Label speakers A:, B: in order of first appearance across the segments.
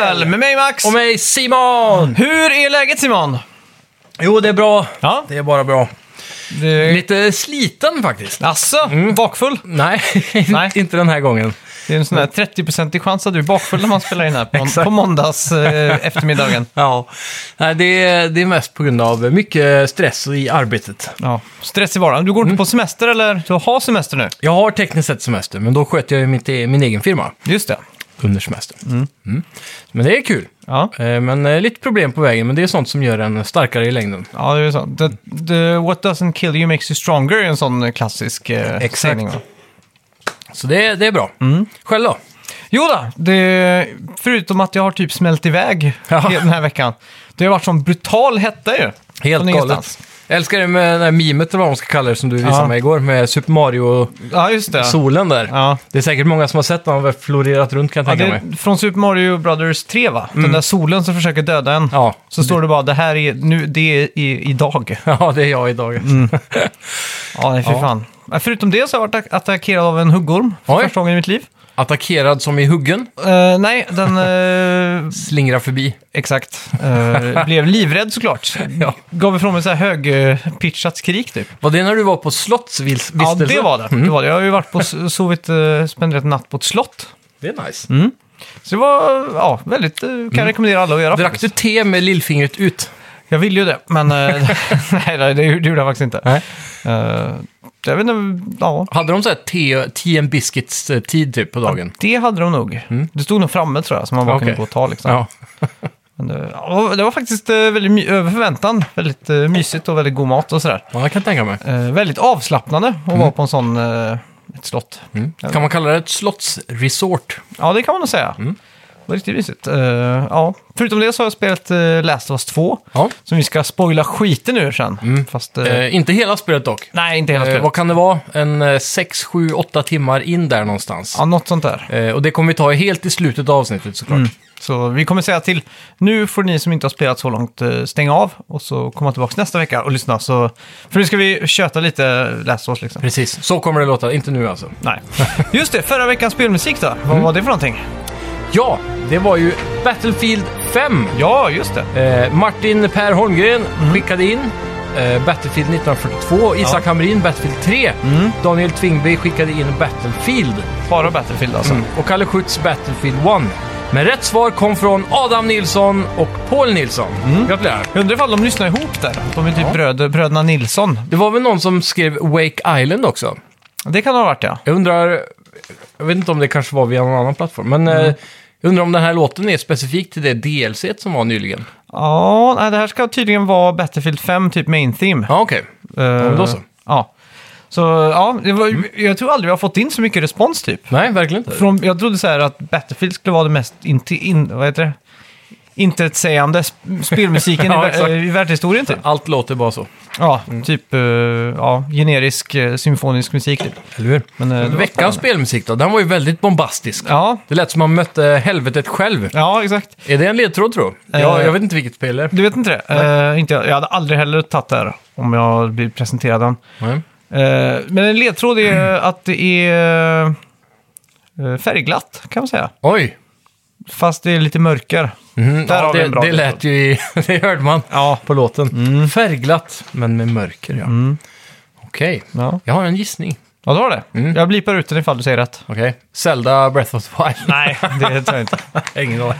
A: Hall med mig Max.
B: Och mig Simon!
A: Hur är läget Simon?
B: Jo, det är bra.
A: Ja,
B: Det är bara bra.
A: det...
B: Lite sliten faktiskt.
A: Asså, bakfull?
B: Nej,
A: Nej.
B: inte den här gången.
A: Det är en sån där 30-procentig chans att du är bakfull när man spelar in här på,
B: Exakt.
A: på måndags eh, eftermiddagen.
B: Ja, Nej, det, är, det är mest på grund av mycket stress i arbetet.
A: Ja, stress i vardagen. Du går inte på semester eller? Du har semester nu?
B: Jag har tekniskt sett semester, men då sköter jag ju mitt, e- min egen firma
A: Just det.
B: under semestern. Mm. Men det är kul.
A: Ja,
B: Eh, Men eh, lite problem på vägen, men det är sånt som gör en starkare i längden.
A: ja det är så. The, the, what doesn't kill you makes you stronger är en sån klassisk eh,
B: Exakt.
A: sägning, va?
B: Så det, det är bra. Själv då?
A: Jo då, det, förutom att jag har typ smält iväg
B: Ja.
A: he- den här veckan. Det har varit sån brutal hetta ju.
B: Helt
A: Från
B: galet.
A: ingenstans.
B: Jag älskar det med det här mimet, eller vad man ska kalla det, som du visade
A: Ja.
B: mig igår, med Super Mario-solen
A: Ja, just det.
B: där.
A: Ja.
B: Det är säkert många som har sett den, har väl florerat runt kan jag
A: Ja,
B: tänka
A: det
B: mig.
A: är från Super Mario Brothers 3 va? Den där solen som försöker döda en.
B: Mm. Ja.
A: Så står det bara det här är nu, det är i, idag.
B: ja, det är jag idag.
A: Mm. Ja, nej, fy
B: Ja.
A: fan. Men Förutom det så har jag varit attackerad av en huggorm för
B: Oj.
A: första gången i mitt liv.
B: Attackerad som i huggen,
A: Eh, nej, den... eh,
B: slingrar förbi.
A: exakt. Eh, blev livrädd såklart.
B: Ja.
A: Gav ifrån mig så här högpitchat skrik typ.
B: Var det när du var på slottsvistelse?
A: Ja, det var det.
B: Mm.
A: det var det. Jag har ju varit på, sovit, eh, spenderat en natt på ett slott.
B: Det är nice.
A: Så det var, ja, väldigt, eh, kan jag rekommendera alla att göra.
B: Mm. Drack du te med lillfingret ut?
A: Jag ville ju det, men eh, nej, nej, det gjorde jag faktiskt inte.
B: Nej.
A: Eh, jag vet inte, ja.
B: Hade de så här te, tea and biscuits eh, tid typ på dagen?
A: Det hade de nog. Det stod nog framme tror jag, som man bara kunde
B: Mm. Okej.
A: gå och ta. Liksom.
B: Ja.
A: Men, eh, ja, det var faktiskt eh, väldigt my- över förväntan. Väldigt eh, mysigt och väldigt god mat och sådär.
B: ja, jag kan tänka mig.
A: Eh, väldigt avslappnande att
B: Mm.
A: vara på en sån, eh, ett slott.
B: Kan man kalla det ett slottsresort?
A: Ja, det kan man nog säga. Det var riktigt mysigt. Eh, ja. Förutom det så har jag spelat eh, Last of Us 2,
B: Ja.
A: som vi ska spoila skiten ur sen. Fast, eh,
B: Eh, inte hela spelet dock.
A: nej, inte hela
B: Eh,
A: spelet.
B: vad kan det vara? En eh, sex, sju, åtta timmar in där någonstans.
A: Ja, något sånt där.
B: Eh, och det kommer vi ta helt i slutet av avsnittet såklart.
A: Så vi kommer säga till, nu får ni som inte har spelat så långt eh, stänga av och så komma tillbaka nästa vecka och lyssna. Så, för nu ska vi köta lite Last of Us liksom.
B: Precis, så kommer det låta. Inte nu alltså.
A: Nej. Just det, förra veckans spelmusik då. Vad var det för någonting?
B: Ja, det var ju Battlefield 5.
A: Ja, just det.
B: Eh, Martin Per Holmgren skickade in eh, Battlefield 1942. Isak Hamrin Battlefield 3. Daniel Tvingby skickade in Battlefield.
A: Bara Battlefield alltså.
B: Och Kalle Schütz Battlefield 1. Men rätt svar kom från Adam Nilsson och Paul Nilsson. Gratulerar!
A: Jag undrar ifall de lyssnar ihop där. De är typ bröder, bröderna Nilsson.
B: Det var väl någon som skrev Wake Island också?
A: Det kan det ha varit ja.
B: Jag undrar, jag vet inte om det kanske var via någon annan plattform, men eh, jag undrar om den här låten är specifik till det DLC et som var nyligen.
A: Ja, nej, det här ska tydligen vara Battlefield 5, typ main theme. Eh,
B: Ja, okej. men då så. Mm.
A: Ja. Så ja, det var, jag tror aldrig vi har fått in så mycket respons typ.
B: Nej, verkligen inte.
A: Från, jag trodde så här att Battlefield skulle vara det mest inte, in, vad heter det? intetsägande sp- spelmusiken
B: Ja,
A: i,
B: exakt. Mm.
A: vär- i världshistorien. Typ.
B: Allt låter bara så.
A: Ja, typ eh, ja, generisk eh, symfonisk musik. Typ.
B: Eller hur?
A: Men, eh, det var
B: Veckans
A: spännande.
B: spelmusik då, den var ju väldigt bombastisk.
A: Ja,
B: Det lät som man mötte helvetet själv.
A: ja, exakt.
B: Är det en ledtråd tror du?
A: Eh.
B: Ja, jag vet inte vilket spel det är.
A: Du vet inte det? Eh, inte jag. jag hade aldrig heller tagit det här om jag blir presenterad den.
B: Nej.
A: Eh, men en ledtråd är att det är eh, färgglatt kan man säga.
B: Oj!
A: Fast det är lite mörker.
B: Mhm,
A: Där har vi
B: det,
A: en bra
B: det lät ju i, Det hörde man
A: Ja.
B: på låten. Färgglatt, men med mörker ja. Okej,
A: Ja,
B: jag har en gissning.
A: ja du har det.
B: Mm.
A: Jag blipar ut den ifall du säger rätt.
B: Okej. Zelda Breath of the Wild.
A: Nej, det tror jag inte.
B: Ingen aning.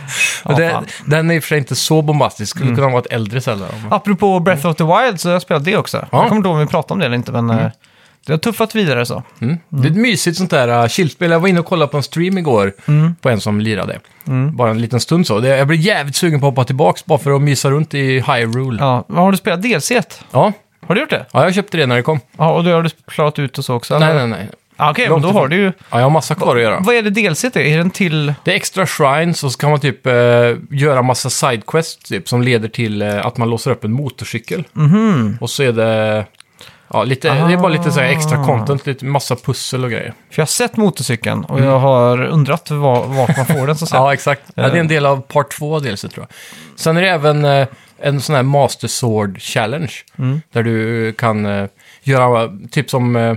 A: Ja,
B: det,
A: fan.
B: den är i och för sig inte så bombastisk. Skulle kunna vara ett äldre Zelda. om man-
A: Apropå Breath of the Wild så har jag spelat det också.
B: Ja.
A: Jag kommer inte ihåg om vi pratade om det eller inte, men eh, det har tuffat vidare så.
B: Mm. Det är ett mysigt sånt där uh, chillspel. Jag var inne och kollade på en stream igår på en som lirade. Bara en liten stund så. Det, jag blev jävligt sugen på att hoppa tillbaka bara för att mysa runt i Hyrule. Ja.
A: Ja, men har du spelat DLC? -et?
B: Ja.
A: Har du gjort det?
B: jag köpte det när det kom.
A: Ja, och då har du klarat ut och så också?
B: Nej,
A: eller?
B: nej, nej.
A: Ah, Okej, men
B: Långt
A: då
B: ifrån.
A: har du ju...
B: Ja, jag har massa kvar att göra.
A: Vad är det DLC -et är? Är den till...
B: Det är extra shrines och så kan man typ eh, göra massa sidequests typ, som leder till eh, att man låser upp en motorcykel. Och så är det... Ja, lite, det är bara lite så här extra content, lite massa pussel och grejer.
A: För jag har sett motorcykeln och jag har undrat var, vart man får den så att säga.
B: Mm. Ja, exakt. Ja, det är en
A: Eh.
B: del av part två dels, tror jag. Sen är det även eh, en sån här Master Sword
A: Mm.
B: Challenge. Där du kan eh, göra, typ som... Eh,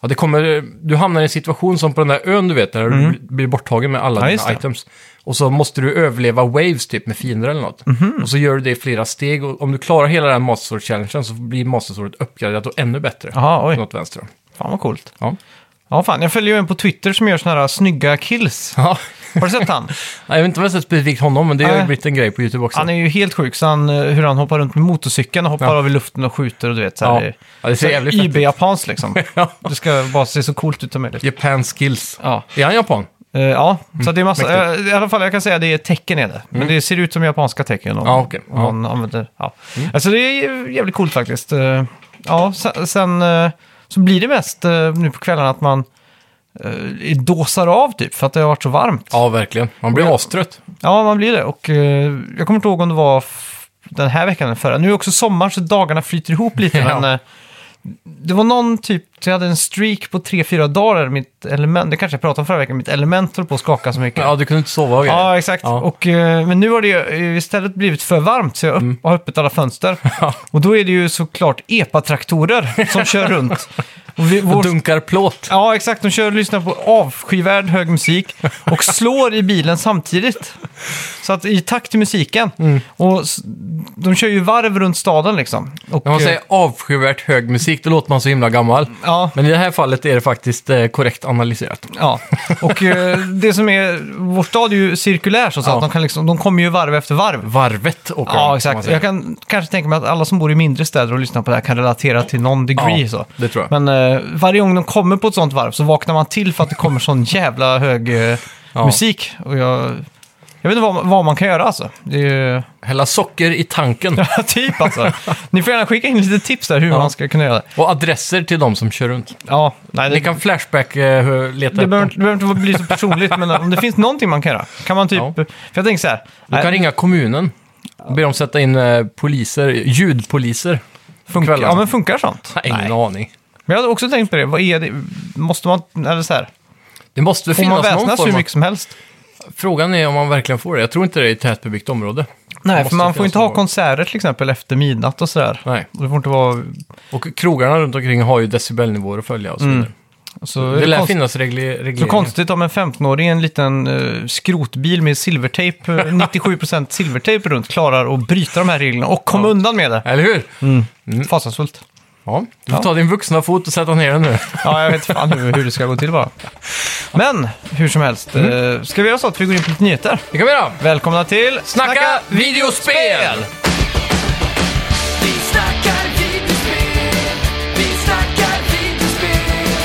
B: Ja, det kommer, du hamnar i en situation som på den där ön du vet, där du blir borttagen med alla
A: Mm. Ja, just
B: dina
A: det.
B: items. Och så måste du överleva waves typ med fiender eller något.
A: Mhm.
B: Och så gör du det i flera steg och om du klarar hela den här Master Sword-challengen så blir Master Sword uppgraderat och ännu bättre.
A: Jaha,
B: På
A: oj.
B: något vänster. då.
A: Fan vad coolt.
B: Ja.
A: Ja, fan. Jag följer ju en på Twitter som gör såna här snygga kills.
B: ja.
A: Har du sett han?
B: Nej, Jag vet inte om jag har sett specifikt honom, men det har ju
A: Nej.
B: blivit en grej på YouTube också.
A: Han är ju helt sjuk, så han, eh, hur han hoppar runt med motorcykeln och hoppar
B: Ja.
A: av i luften och skjuter och du vet. Så
B: Ja.
A: här, eh,
B: Ja, det ser
A: så här
B: jävligt fett ut.
A: IB-japanskt liksom.
B: Ja.
A: Det ska bara se så coolt ut som möjligt.
B: Japan skills.
A: Ja.
B: Är han japan?
A: Eh, ja, så
B: Mm.
A: det är massa, eh, i alla fall jag kan säga att det är tecken är det. Men det ser ut som japanska tecken om,
B: Ja, Mm. okej.
A: om man använder. Ja. Alltså det är ju jävligt coolt faktiskt. Eh, Ja, sen, sen eh, så blir det mest eh, nu på kvällarna att man eh, dåsar av typ för att det har varit så varmt.
B: Ja, verkligen. Man blir
A: Ja.
B: astrött.
A: Ja, man blir det. Och eh, jag kommer inte ihåg om det var f- den här veckan eller förra. Nu är också sommar så dagarna flyter ihop lite.
B: Ja.
A: Men eh, det var någon typ, jag hade en streak på tre, fyra dagar. där Mitt element, det kanske jag pratade om förra veckan, mitt element höll på att skaka så mycket.
B: Ja, du kunde inte sova och grejer.
A: Ja, exakt.
B: Ja.
A: Och, eh, men nu har det ju istället blivit för varmt så jag upp, har öppet alla fönster.
B: Mm. Ja.
A: Och då är det ju såklart epatraktorer som kör runt. Och vi, vår,
B: Dunkar plåt.
A: ja, exakt. De kör och lyssnar på avskyvärd hög musik och slår i bilen samtidigt. Så att i takt till musiken. Och s- de kör ju varv runt staden liksom. Och,
B: När man
A: eh,
B: säger avskyvärt hög musik, då låter man så himla gammal.
A: ja,
B: Men i det här fallet är det faktiskt eh, korrekt analyserat.
A: Ja, och eh, det som är, vår stad är ju cirkulär så, så
B: Ja.
A: att de, kan liksom, de kommer ju varv efter varv.
B: Varvet åker de,
A: Ja,
B: som man
A: exakt.
B: säger.
A: Jag kan kanske tänka mig att alla som bor i mindre städer och lyssnar på det här kan relatera till någon degree.
B: Ja,
A: så.
B: det tror jag.
A: Men eh, varje gång de kommer på ett sånt varv så vaknar man till för att det kommer sån jävla hög eh,
B: Ja.
A: musik. Och jag, jag vet inte vad, vad man kan göra alltså. Det är ju
B: Hälla socker i tanken
A: typ alltså. Ni får gärna skicka in lite tips där hur
B: Ja.
A: man ska kunna göra det.
B: och adresser till de som kör runt.
A: Ja, nej, det,
B: Ni kan Flashback eh, hur- leta
A: det
B: upp
A: behöver,
B: dem.
A: inte- det behöver inte bli så personligt, men eh, om det finns någonting man kan göra. Kan man typ...
B: Ja.
A: För jag tänker så här.
B: Du kan
A: nej,
B: ringa kommunen och be dem sätta in eh, poliser, ljudpoliser.
A: funkar,
B: kvällarna.
A: ja, men funkar sånt?
B: Nej, Ingen aning.
A: Men jag hade också tänkt på det. Vad är det? Måste man... Eller så här.
B: Det måste väl
A: Får man
B: finnas någon
A: väsnas hur
B: form av...
A: mycket som helst?
B: Frågan är om man verkligen får det. Jag tror inte det är i tätbebyggt område. Det
A: Nej,
B: måste
A: för man får
B: finnas
A: inte ha
B: någon-
A: konserter till exempel efter midnatt och sådär.
B: Nej.
A: Och Det får inte vara...
B: Och krogarna runt omkring har ju decibelnivåer att följa och så vidare.
A: Så,
B: Det lär
A: Mm. alltså, konst-
B: finnas regle- regleringar.
A: så konstigt om en 15-åring i en liten eh, skrotbil med silvertejp, eh, 97% silvertejp runt, klarar att bryta de här reglerna och komma undan med det.
B: Eller hur? Mm.
A: Fasansfullt.
B: Ja, du får
A: Mm. Ja.
B: ta din vuxna fot och sätta ner den nu.
A: Ja, jag vet fan hur, hur det ska gå till bara. Men, hur som helst.
B: Mm.
A: eh, Ska vi göra så att vi går in på lite nyheter?
B: Det kan vi göra!
A: Välkomna till
B: Snacka videospel!
C: Vi snackar videospel, vi snackar videospel,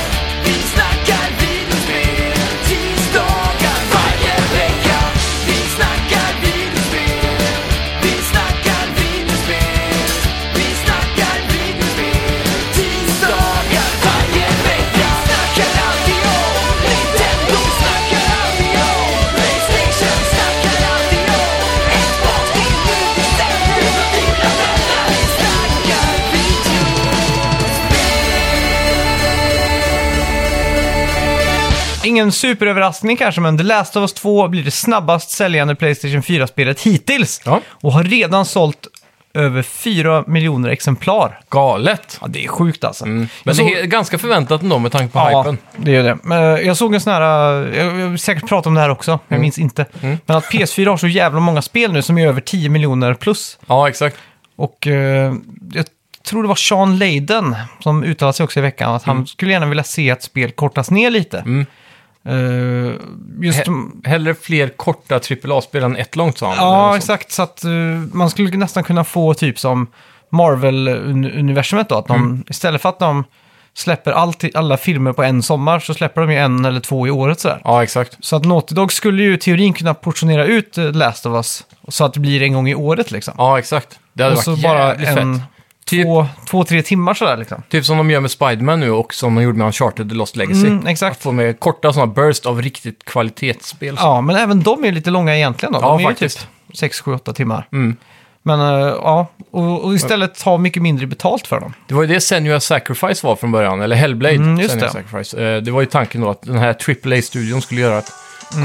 C: vi snackar videospel, tisdagar varje vecka. Vi snackar videospel, vi snackar videospel, vi snackar videospel, tisdagar varje vecka. Snackar alltid om Nintendo, snackar alltid om Playstation, snackar alltid om Xbox, din utställning och dina vänner. Vi snackar video.
A: Ingen superöverraskning kanske, men The Last of Us 2 blir det snabbast säljande Playstation 4-spelet hittills.
B: Ja.
A: Och har redan sålt över 4 miljoner exemplar.
B: Galet!
A: Ja, det är sjukt alltså.
B: Mm. Men
A: Jag såg-
B: det är ganska förväntat ändå med tanke på
A: Ja,
B: hypen.
A: det är det. Men eh, jag såg en sån här, eh, jag jag har säkert pratat om det här också, jag
B: Mm.
A: minns inte. Men att PS4 har så jävla många spel nu som är över 10 miljoner plus.
B: Ja, exakt.
A: Och eh, jag tror det var Sean Leiden som uttalade sig också i veckan att
B: Mm.
A: han skulle gärna vilja se att spel kortas ner lite. Eh, just...
B: He- hellre fler korta AAA-spel än ett långt, sa han. Eller något
A: Ja,
B: sånt.
A: exakt. Så att eh, man skulle nästan kunna få typ som Marvel-universumet då. Att de, Istället för att de släpper alltid, alla filmer på en sommar så släpper de ju en eller två i året sådär.
B: Ja, exakt.
A: Så att Naughty Dog skulle ju i teorin kunna portionera ut eh, Last of Us så att det blir en gång i året liksom.
B: Ja, exakt. Det hade
A: och så
B: varit
A: bara
B: jävligt
A: en,
B: fett. Typ,
A: två, två, tre timmar sådär liksom.
B: typ som de gör med Spiderman nu och som de gjorde med Uncharted The Lost Legacy.
A: Mm, exakt.
B: Att få med korta sådana burst av riktigt kvalitetsspel.
A: Ja, men även de är lite långa egentligen då.
B: Ja,
A: de är
B: faktiskt.
A: ju typ 6, 7, 8 timmar.
B: Mm.
A: Men eh, ja, och, och istället ta mycket mindre betalt för dem.
B: Det var ju det Senua Sacrifice var från början, eller Hellblade
A: Mm, just
B: Senua
A: det.
B: Sacrifice. Eh, Det var ju tanken då att den här AAA-studion skulle göra ett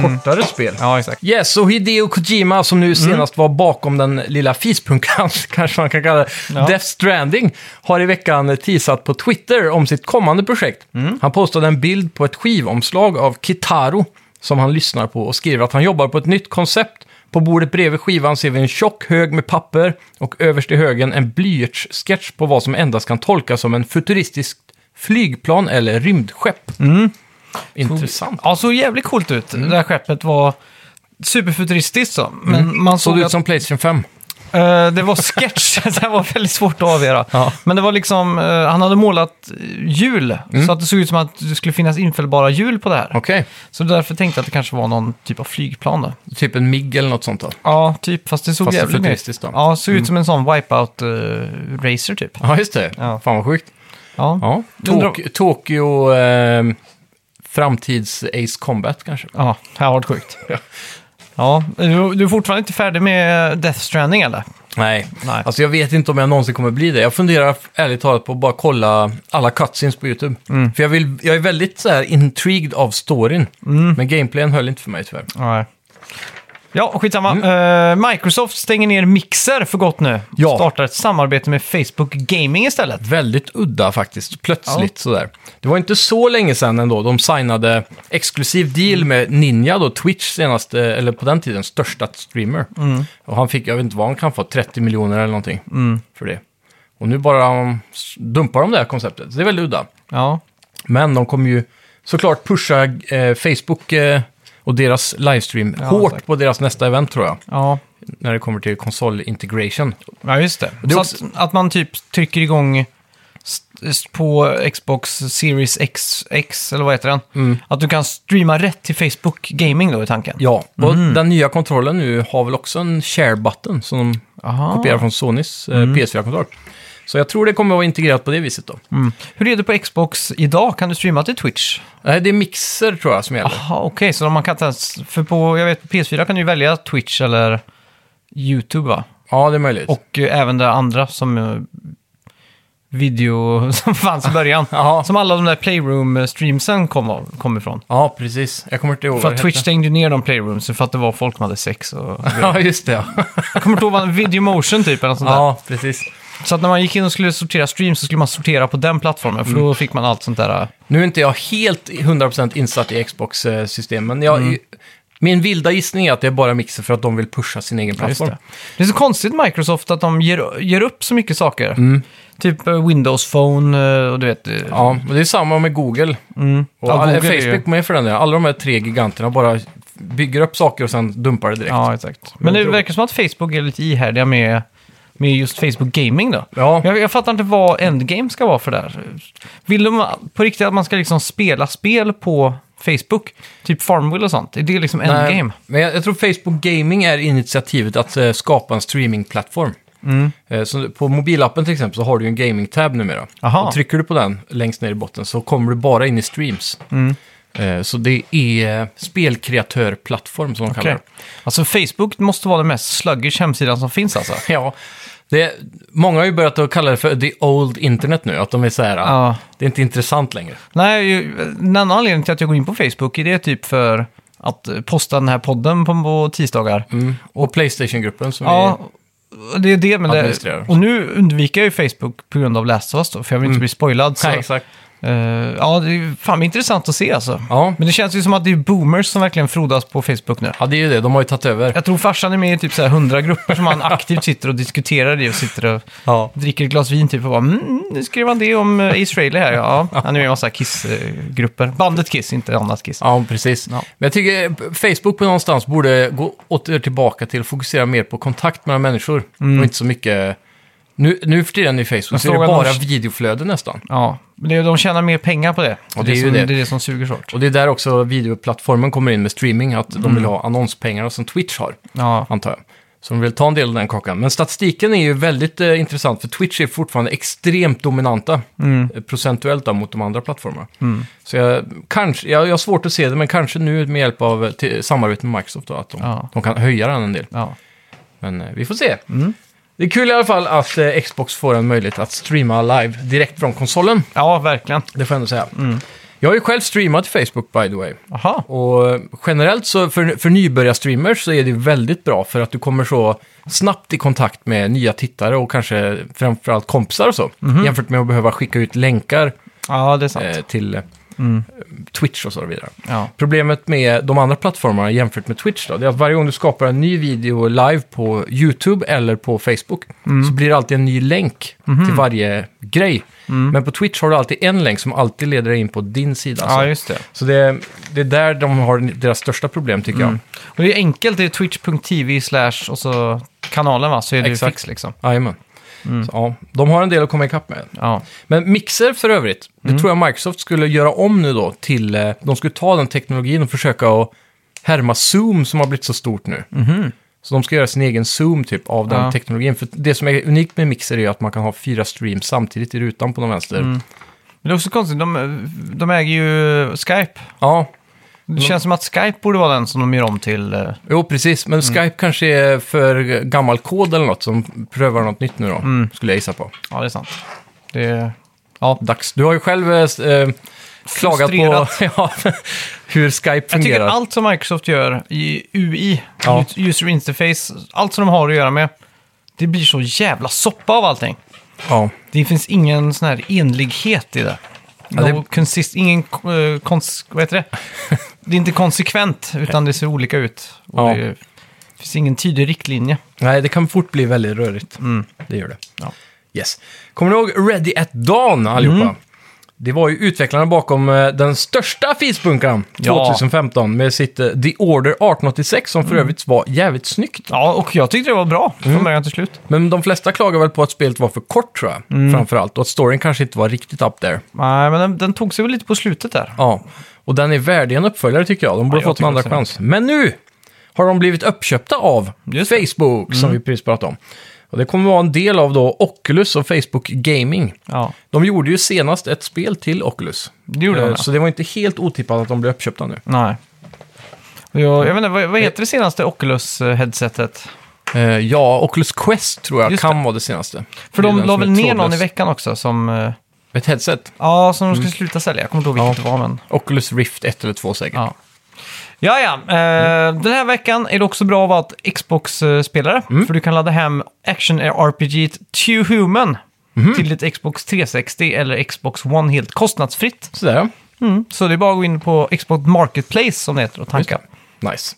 B: kortare spel.
A: Mm. Ja, exakt.
B: Yes, och Hideo Kojima som
A: Mm.
B: nu senast var bakom den lilla fispunkan, kanske man kan kalla det,
A: Ja.
B: Death Stranding, har i veckan teasat på Twitter om sitt kommande projekt.
A: Mm.
B: Han postade en bild på ett skivomslag av Kitaro som han lyssnar på och skriver att han jobbar på ett nytt koncept. På bordet bredvid skivan ser vi en tjock hög med papper och överst i högen en blyertssketch på vad som endast kan tolkas som en futuristisk flygplan eller rymdskepp.
A: Mm.
B: Intressant.
A: Ja, såg jävligt coolt ut.
B: Mm.
A: Det här skeppet var superfuturistiskt så. Men man såg,
B: Mm. Såg ut
A: att
B: som Playstation 5.
A: eh, det var sketch. så det var väldigt svårt att avgöra.
B: Ja.
A: Men det var liksom, eh, han hade målat eh, hjul.
B: Mm.
A: Så att det såg ut som att det skulle finnas infällbara hjul på det här.
B: Okej.
A: Så därför tänkte jag att det kanske var någon typ av flygplan då.
B: Typ en MIG eller något sånt då?
A: Ja, typ. Fast det såg
B: Fast
A: jävligt
B: futuristiskt då. Mm.
A: Ja, såg ut som en sån wipeout-racer typ.
B: Ja, just det.
A: Ja.
B: Fan vad sjukt.
A: Ja.
B: Ja.
A: Undrar-
B: Tok- Tokyo... Eh, framtids Ace Combat kanske.
A: Ja, här var det sjukt. Ja, du, du är fortfarande inte färdig med Death Stranding eller?
B: Nej.
A: Nej.
B: Alltså jag vet inte om jag någonsin kommer bli det. Jag funderar ärligt talat på att bara kolla alla cutscenes på YouTube. För jag, vill, jag är väldigt så här intrigued av storyn. Men gameplayen höll inte för mig tyvärr.
A: Nej. Ja, skitsamma. Eh, Microsoft stänger ner Mixer för gott nu.
B: Ja.
A: Startar ett samarbete med Facebook Gaming istället.
B: Väldigt udda faktiskt, plötsligt sådär. Det var inte så länge sedan ändå de signade exklusiv deal med Ninja då, Twitch senaste, eller på den tiden största streamer. Och han fick, jag vet inte vad han kan få, 30 miljoner eller någonting för det. Och nu bara um, s- dumpar de det här konceptet, så det är väldigt udda.
A: Ja,
B: Men de kommer ju såklart pusha eh, Facebook eh, och deras livestream
A: Ja,
B: hårt
A: säkert.
B: på deras nästa event tror jag.
A: ja.
B: När det kommer till konsol-integration.
A: ja just det.
B: är
A: Så
B: också-
A: att, att man typ trycker igång st- st- på Xbox Series X, X eller vad heter den? Att du kan streama rätt till Facebook Gaming då i tanken.
B: Ja, och
A: Mhm.
B: den nya kontrollen nu har väl också en share button som de
A: Aha.
B: kopierar från Sonys eh, PS4-kontroll. Så jag tror det kommer att vara integrerat på det viset då.
A: Mm. Hur är det på Xbox idag? Kan du streama till Twitch?
B: Nej, det är mixer tror jag som gäller.
A: Jaha, okej. Så man kan inte ens... För på, jag vet, på PS4 kan du ju välja Twitch eller YouTube va?
B: Ja, det är möjligt.
A: Och eh, även det andra som eh, video som fanns i början.
B: Jaha.
A: Som alla de där Playroom-streamsen kom, av- kom ifrån.
B: ja, precis. Jag kommer inte ihåg
A: För
B: vad
A: att
B: det
A: Twitch
B: hette.
A: stängde ju ner de playrooms för att det var folk som hade sex. Och...
B: Ja, just det. Ja,
A: Jag kommer inte ihåg vad Videomotion typ eller något sånt
B: ja precis.
A: där. Så att när man gick in och skulle sortera streams så skulle man sortera på den plattformen för då fick man allt sånt där. eh,
B: Nu är inte jag helt 100% insatt i Xbox-systemen, men jag,
A: Mm.
B: min vilda gissning är att det är bara mixer för att de vill pusha sin egen
A: Ja, just
B: plattform.
A: det. det är så konstigt Microsoft att de ger, ger upp så mycket saker. Typ eh, Windows Phone eh, och du vet... eh,
B: Ja, och det är samma med Google. Och
A: Mm. Ja,
B: alla-
A: Google är ju-
B: Facebook med för den delen. Alla de här tre giganterna bara bygger upp saker och sen dumpar det direkt.
A: ja, exakt. Men det
B: Otroligt.
A: verkar som att Facebook är lite ihärdiga med, med just Facebook Gaming då.
B: Ja.
A: Jag, jag fattar inte vad endgame ska vara för där. Vill de på riktigt att man ska liksom spela spel på Facebook? Typ Farmville och sånt? Är det liksom
B: Nej,
A: endgame?
B: Men jag, jag tror Facebook Gaming är initiativet att eh, skapa en streamingplattform.
A: Mm.
B: Eh, så på mobilappen till exempel så har du ju en gaming-tab numera.
A: Aha.
B: Och trycker du på den längst ner i botten så kommer du bara in i streams.
A: Mm.
B: Eh, så det är eh, spelkreatörplattform som de kallar
A: Okej.
B: det.
A: Alltså Facebook måste vara den mest sluggish hemsidan som finns alltså.
B: Ja, det, många har ju börjat att kalla det för the old internet nu, att de är så här, "Ah,
A: Ja.
B: det är inte intressant längre.
A: Nej, ju- en annan anledning till att jag går in på Facebook är det typ för att eh, posta den här podden på, på tisdagar.
B: Och Playstation-gruppen som
A: Mm. Ja, det är det. Men det,
B: Administrerar.
A: och nu undviker jag ju Facebook på grund av Last of Us då, för jag vill inte bli spoilad.
B: vi...
A: Så,
B: Nej, exakt.
A: eh, ja, det är ju fan intressant att se alltså.
B: Ja.
A: Men det känns ju som att det är boomers som verkligen frodas på Facebook nu.
B: ja, det är ju det, de har ju tagit över.
A: Jag tror farsan är med i typ så här 100 grupper som han aktivt sitter och diskuterar det och sitter och
B: Ja.
A: dricker ett glas vin typ och bara mm, nu skrev han det om eh, Ace Frehley här. Ja, han är med i en massa Kiss-grupper. Bandet Kiss, inte annat Kiss.
B: Ja, precis.
A: Ja.
B: Men jag tycker Facebook på någonstans borde gå åter tillbaka till att fokusera mer på kontakt mellan människor och inte så mycket... Nu, nu för tiden i Facebook så är det
A: Mm. frågan om-
B: bara videoflöde nästan.
A: Ja, men det, de tjänar mer pengar på det.
B: Och det är ju
A: som,
B: det.
A: det är det som suger svårt.
B: Och det är där också videoplattformen kommer in med streaming, att de
A: Mm.
B: vill ha annonspengar som Twitch har,
A: Ja,
B: antar jag. Så de vill ta en del av den kakan. Men statistiken är ju väldigt eh, intressant, för Twitch är fortfarande extremt dominanta eh, procentuellt då, mot de andra plattformarna. Så jag, kanske, jag, jag har svårt att se det, men kanske nu med hjälp av eh, till, samarbete med Microsoft då, att de,
A: Ja.
B: de kan höja den en del.
A: ja.
B: Men eh, vi får se. Det är kul i alla fall att eh, Xbox får en möjlighet att streama live direkt från konsolen.
A: ja verkligen.
B: Det får jag ändå säga. Jag har ju själv streamat i Facebook by the way.
A: Aha.
B: Och eh, generellt så för, för nybörjarstreamers så är det ju väldigt bra för att du kommer så snabbt i kontakt med nya tittare och kanske framförallt kompisar och så. Jämfört med att behöva skicka ut länkar
A: Ja, det är Mhm. sant. Mm.
B: eh, till eh, Twitch och så vidare.
A: Ja.
B: Problemet med de andra plattformarna jämfört med Twitch då, det är att varje gång du skapar en ny video live på YouTube eller på Facebook
A: Mm.
B: så blir det alltid en ny länk
A: Mhm.
B: till varje grej.
A: Mm.
B: Men på Twitch har du alltid en länk som alltid leder dig in på din sida. så.
A: Ja, just det.
B: Så det, det är där de har deras största problem tycker
A: Och det är enkelt, det är twitch.tv slash och så kanalen va, så är det ju
B: Exakt.
A: fix liksom.
B: jag. Ah, Jajamän. Så, ja, de har en del att komma ikapp med.
A: Ja.
B: Men Mixer för övrigt, det tror jag Microsoft skulle göra om nu då till... eh, De skulle ta den teknologin och försöka att härma Zoom som har blivit så stort nu. Så de ska göra sin egen Zoom typ av den
A: Ja.
B: teknologin. För det som är unikt med Mixer är att man kan ha fyra streams samtidigt i rutan på någon vänster.
A: Men det är också konstigt, de, de äger ju Skype.
B: Ja, Mm.
A: Det känns som att Skype borde vara den som de gör om till... eh,
B: Jo, precis. Men Skype kanske är för gammal kod eller något som prövar något nytt nu då, skulle jag gissa på.
A: Ja, det är sant. Det är... Ja.
B: Dags. Du har ju själv eh, s- eh, klagat på ja, hur Skype
A: Jag tycker
B: fungerar.
A: allt som Microsoft gör i UI,
B: Ja.
A: ut- user interface, allt som de har att göra med, det blir så jävla soppa av allting.
B: Ja.
A: Det finns ingen sån här enlighet i det. No
B: det-
A: Consist, ingen eh, kons, vad heter det? det är inte konsekvent, utan det ser olika ut. Och
B: Ja.
A: det, det finns ingen tydlig riktlinje.
B: Nej, det kan fort bli väldigt rörigt. Det gör
A: Mm.
B: det.
A: Ja.
B: Yes. Kommer ni ihåg Ready at Dawn allihopa?
A: Mm.
B: Det var ju utvecklarna bakom eh, den största fisbunkern
A: Ja.
B: 2015 med sitt eh, The Order 1886 som för
A: Mm.
B: övrigt var jävligt snyggt.
A: Ja, och jag tyckte det var bra från
B: Mm.
A: början till slut.
B: Men de flesta klagar väl på att spelet var för kort tror jag,
A: Mm.
B: framförallt. Och att storyn kanske inte var riktigt up there.
A: Nej, men den, den tog sig väl lite på slutet där.
B: Ja, och den är värdig en uppföljare tycker jag. De borde
A: Ja, jag
B: fått en andra
A: tycker också
B: chans. Men nu har de blivit uppköpta av
A: Just det. Mm.
B: Facebook, som vi precis pratade om. Och det kommer vara en del av då Oculus och Facebook Gaming.
A: Ja,
B: De gjorde ju senast ett spel till Oculus.
A: det gjorde
B: Eh,
A: de. ja.
B: Så det var inte helt otippat att de blev uppköpta nu.
A: Nej. Och Jag, jag vet inte, vad, vad heter det senaste Oculus-headsetet?
B: Eh, Ja, Oculus Quest tror jag
A: Just
B: kan vara det senaste.
A: För
B: Det är
A: de
B: den
A: la
B: som är
A: väl ner någon
B: trådlös.
A: i veckan också som, eh,
B: Ett headset.
A: ja, som de skulle
B: Mm.
A: sluta sälja. Jag kommer inte ihåg vilket det var, men...
B: Oculus Rift 1 eller 2 säkert.
A: Ja. Ja, ja. Eh, Den här veckan är det också bra att vara ett Xbox-spelare.
B: Mm.
A: För du kan ladda hem action-RPG Two Human
B: Mhm.
A: till ditt Xbox 360 eller Xbox One helt kostnadsfritt.
B: Sådär
A: Så det är bara att gå in på Xbox Marketplace som det Mm. heter och tanka.
B: ja. Nice.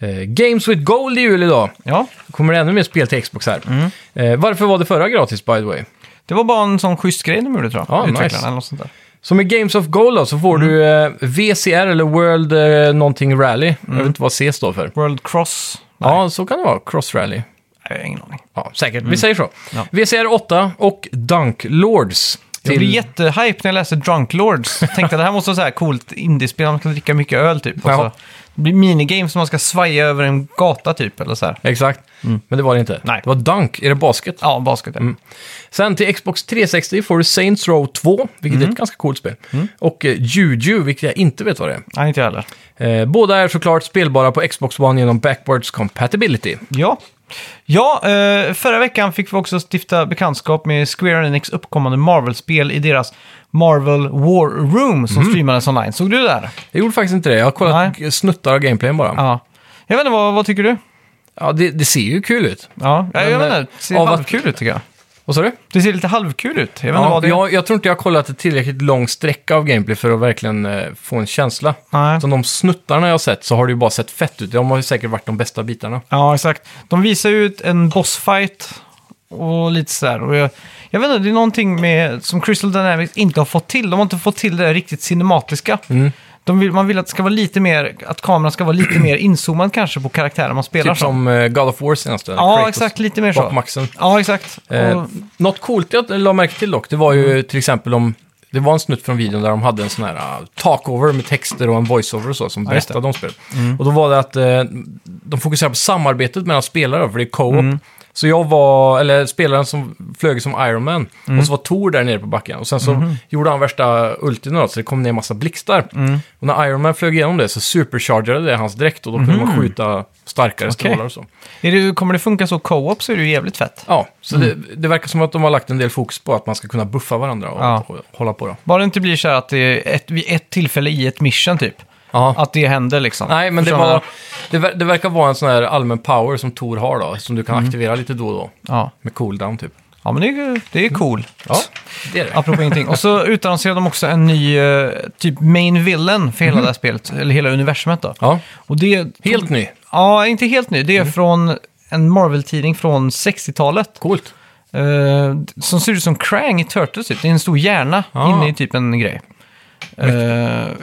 B: Eh, Games with Gold i jul idag.
A: Ja,
B: kommer det ännu mer spel till Xbox här.
A: Mm.
B: Eh, varför var det förra gratis, by the way?
A: det var bara en sån schysst grej de gjorde tror jag.
B: Ja, nice.
A: Utvecklarna eller något sånt där.
B: Så med Games of Gold då, så får du
A: Mm.
B: eh, VCR eller World eh, någonting Rally. Jag vet inte vad C står för.
A: World Cross. Nej,
B: Ja, så kan det vara. Cross Rally.
A: jag har ingen aning.
B: Ja, säkert. Vi säger så.
A: Mm. Ja.
B: VCR 8 och Dunk Lords.
A: Jag blev
B: till-
A: jättehype när jag läste Drunk Lords. Tänkte att det här måste vara så här coolt indiespel, man kan dricka mycket öl typ. Och
B: Jaha.
A: så, det blir minigame som man ska svaja över en gata typ, eller så här.
B: Exakt. Men det var det inte.
A: Mm. Nej.
B: Det var Dunk. Är det basket?
A: Ja, basket. ja.
B: Sen till Xbox 360 får du Saints Row 2, vilket
A: Mm.
B: är ett ganska coolt spel. Och eh, Juju, vilket jag inte vet vad det är.
A: Nej, inte jag heller.
B: Eh, båda är såklart spelbara på Xbox One genom backwards compatibility.
A: Ja, ja eh, förra veckan fick vi också stifta bekantskap med Square Enix uppkommande Marvel-spel i deras Marvel War Room som streamades online. Såg du det där?
B: Jag gjorde faktiskt inte det. Jag har kollat snuttar av gameplayen bara. Ja.
A: Ja. Jag vet inte, vad, vad tycker du?
B: det, det ser ju kul ut.
A: Ja, jag, jag
B: Men,
A: vet
B: eh,
A: inte. Det ser
B: av att-
A: halvkul ut tycker jag.
B: Vad sa du?
A: Det ser lite halvkul ut. Jag vet inte
B: Ja,
A: vad det är.
B: jag, jag tror inte jag har kollat ett tillräckligt lång sträcka av gameplay för att verkligen eh, få en känsla.
A: Nej.
B: Som de snuttarna jag har sett så har det ju bara sett fett ut. De har ju säkert varit de bästa bitarna.
A: Ja, exakt. De visar ju ut en bossfight och lite sådär. Och jag, jag vet inte, det är någonting med, som Crystal Dynamics inte har fått till. De har inte fått till det där riktigt cinematiska.
B: Mm.
A: De vill, man vill att det ska vara lite mer, att kameran ska vara lite mer inzoomad kanske på karaktären man spelar
B: Typ
A: som.
B: som eh, God of War senaste.
A: Ja,
B: Kratos
A: exakt. Lite mer
B: bak
A: så.
B: maxen.
A: Ja, exakt.
B: Eh,
A: Och, Mm.
B: något coolt jag la märke till dock, det var ju till exempel om... Det var en snutt från videon där de hade en sån här ah, talkover med texter och en voiceover och så som
A: Ja, just det. Mm. Mm.
B: berättade om spelet. Och då var det att eh, de fokuserade på samarbetet mellan spelare, för det är co-op. Så jag var, eller spelaren som flög som Iron Man,
A: Mm.
B: och så var Thor där nere på backen. Och sen så
A: Mm-hmm.
B: gjorde han värsta ultin och allt, så det kom ner en massa blixtar.
A: Mm.
B: Och när Iron Man flög igenom det så superchargerade det hans dräkt och då kunde man skjuta starkare
A: Mm. Okej.
B: strålar och så.
A: Är det, kommer det funka så co-op så är det ju jävligt fett.
B: Ja, så
A: Mm.
B: det, det verkar som att de har lagt en del fokus på att man ska kunna buffa varandra och,
A: Ja.
B: och hålla på. Då.
A: Bara det inte blir så här att det är ett, vid ett tillfälle i ett mission typ.
B: Ja.
A: Att det händer liksom.
B: Nej, men det,
A: Förstår
B: var,
A: man?
B: det, ver- det verkar vara en sån här allmän power som Tor har då, som du kan aktivera lite då och då.
A: Mm. Ja,
B: Med cooldown typ.
A: ja men det, är ju- det är ju cool.
B: Ja, det är det.
A: Apropå ingenting. Och så utannonserade de också en ny eh, typ main villain för hela det här spelet, eller hela universumet då.
B: Ja.
A: Och det...
B: Helt ny.
A: Ja, inte helt ny. Det är från en Marvel-tidning från 60-talet.
B: Coolt.
A: Eh, som ser ut som Krang i Turtles typ. Det är en stor hjärna
B: Ah.
A: inne i typ en grej. Eh,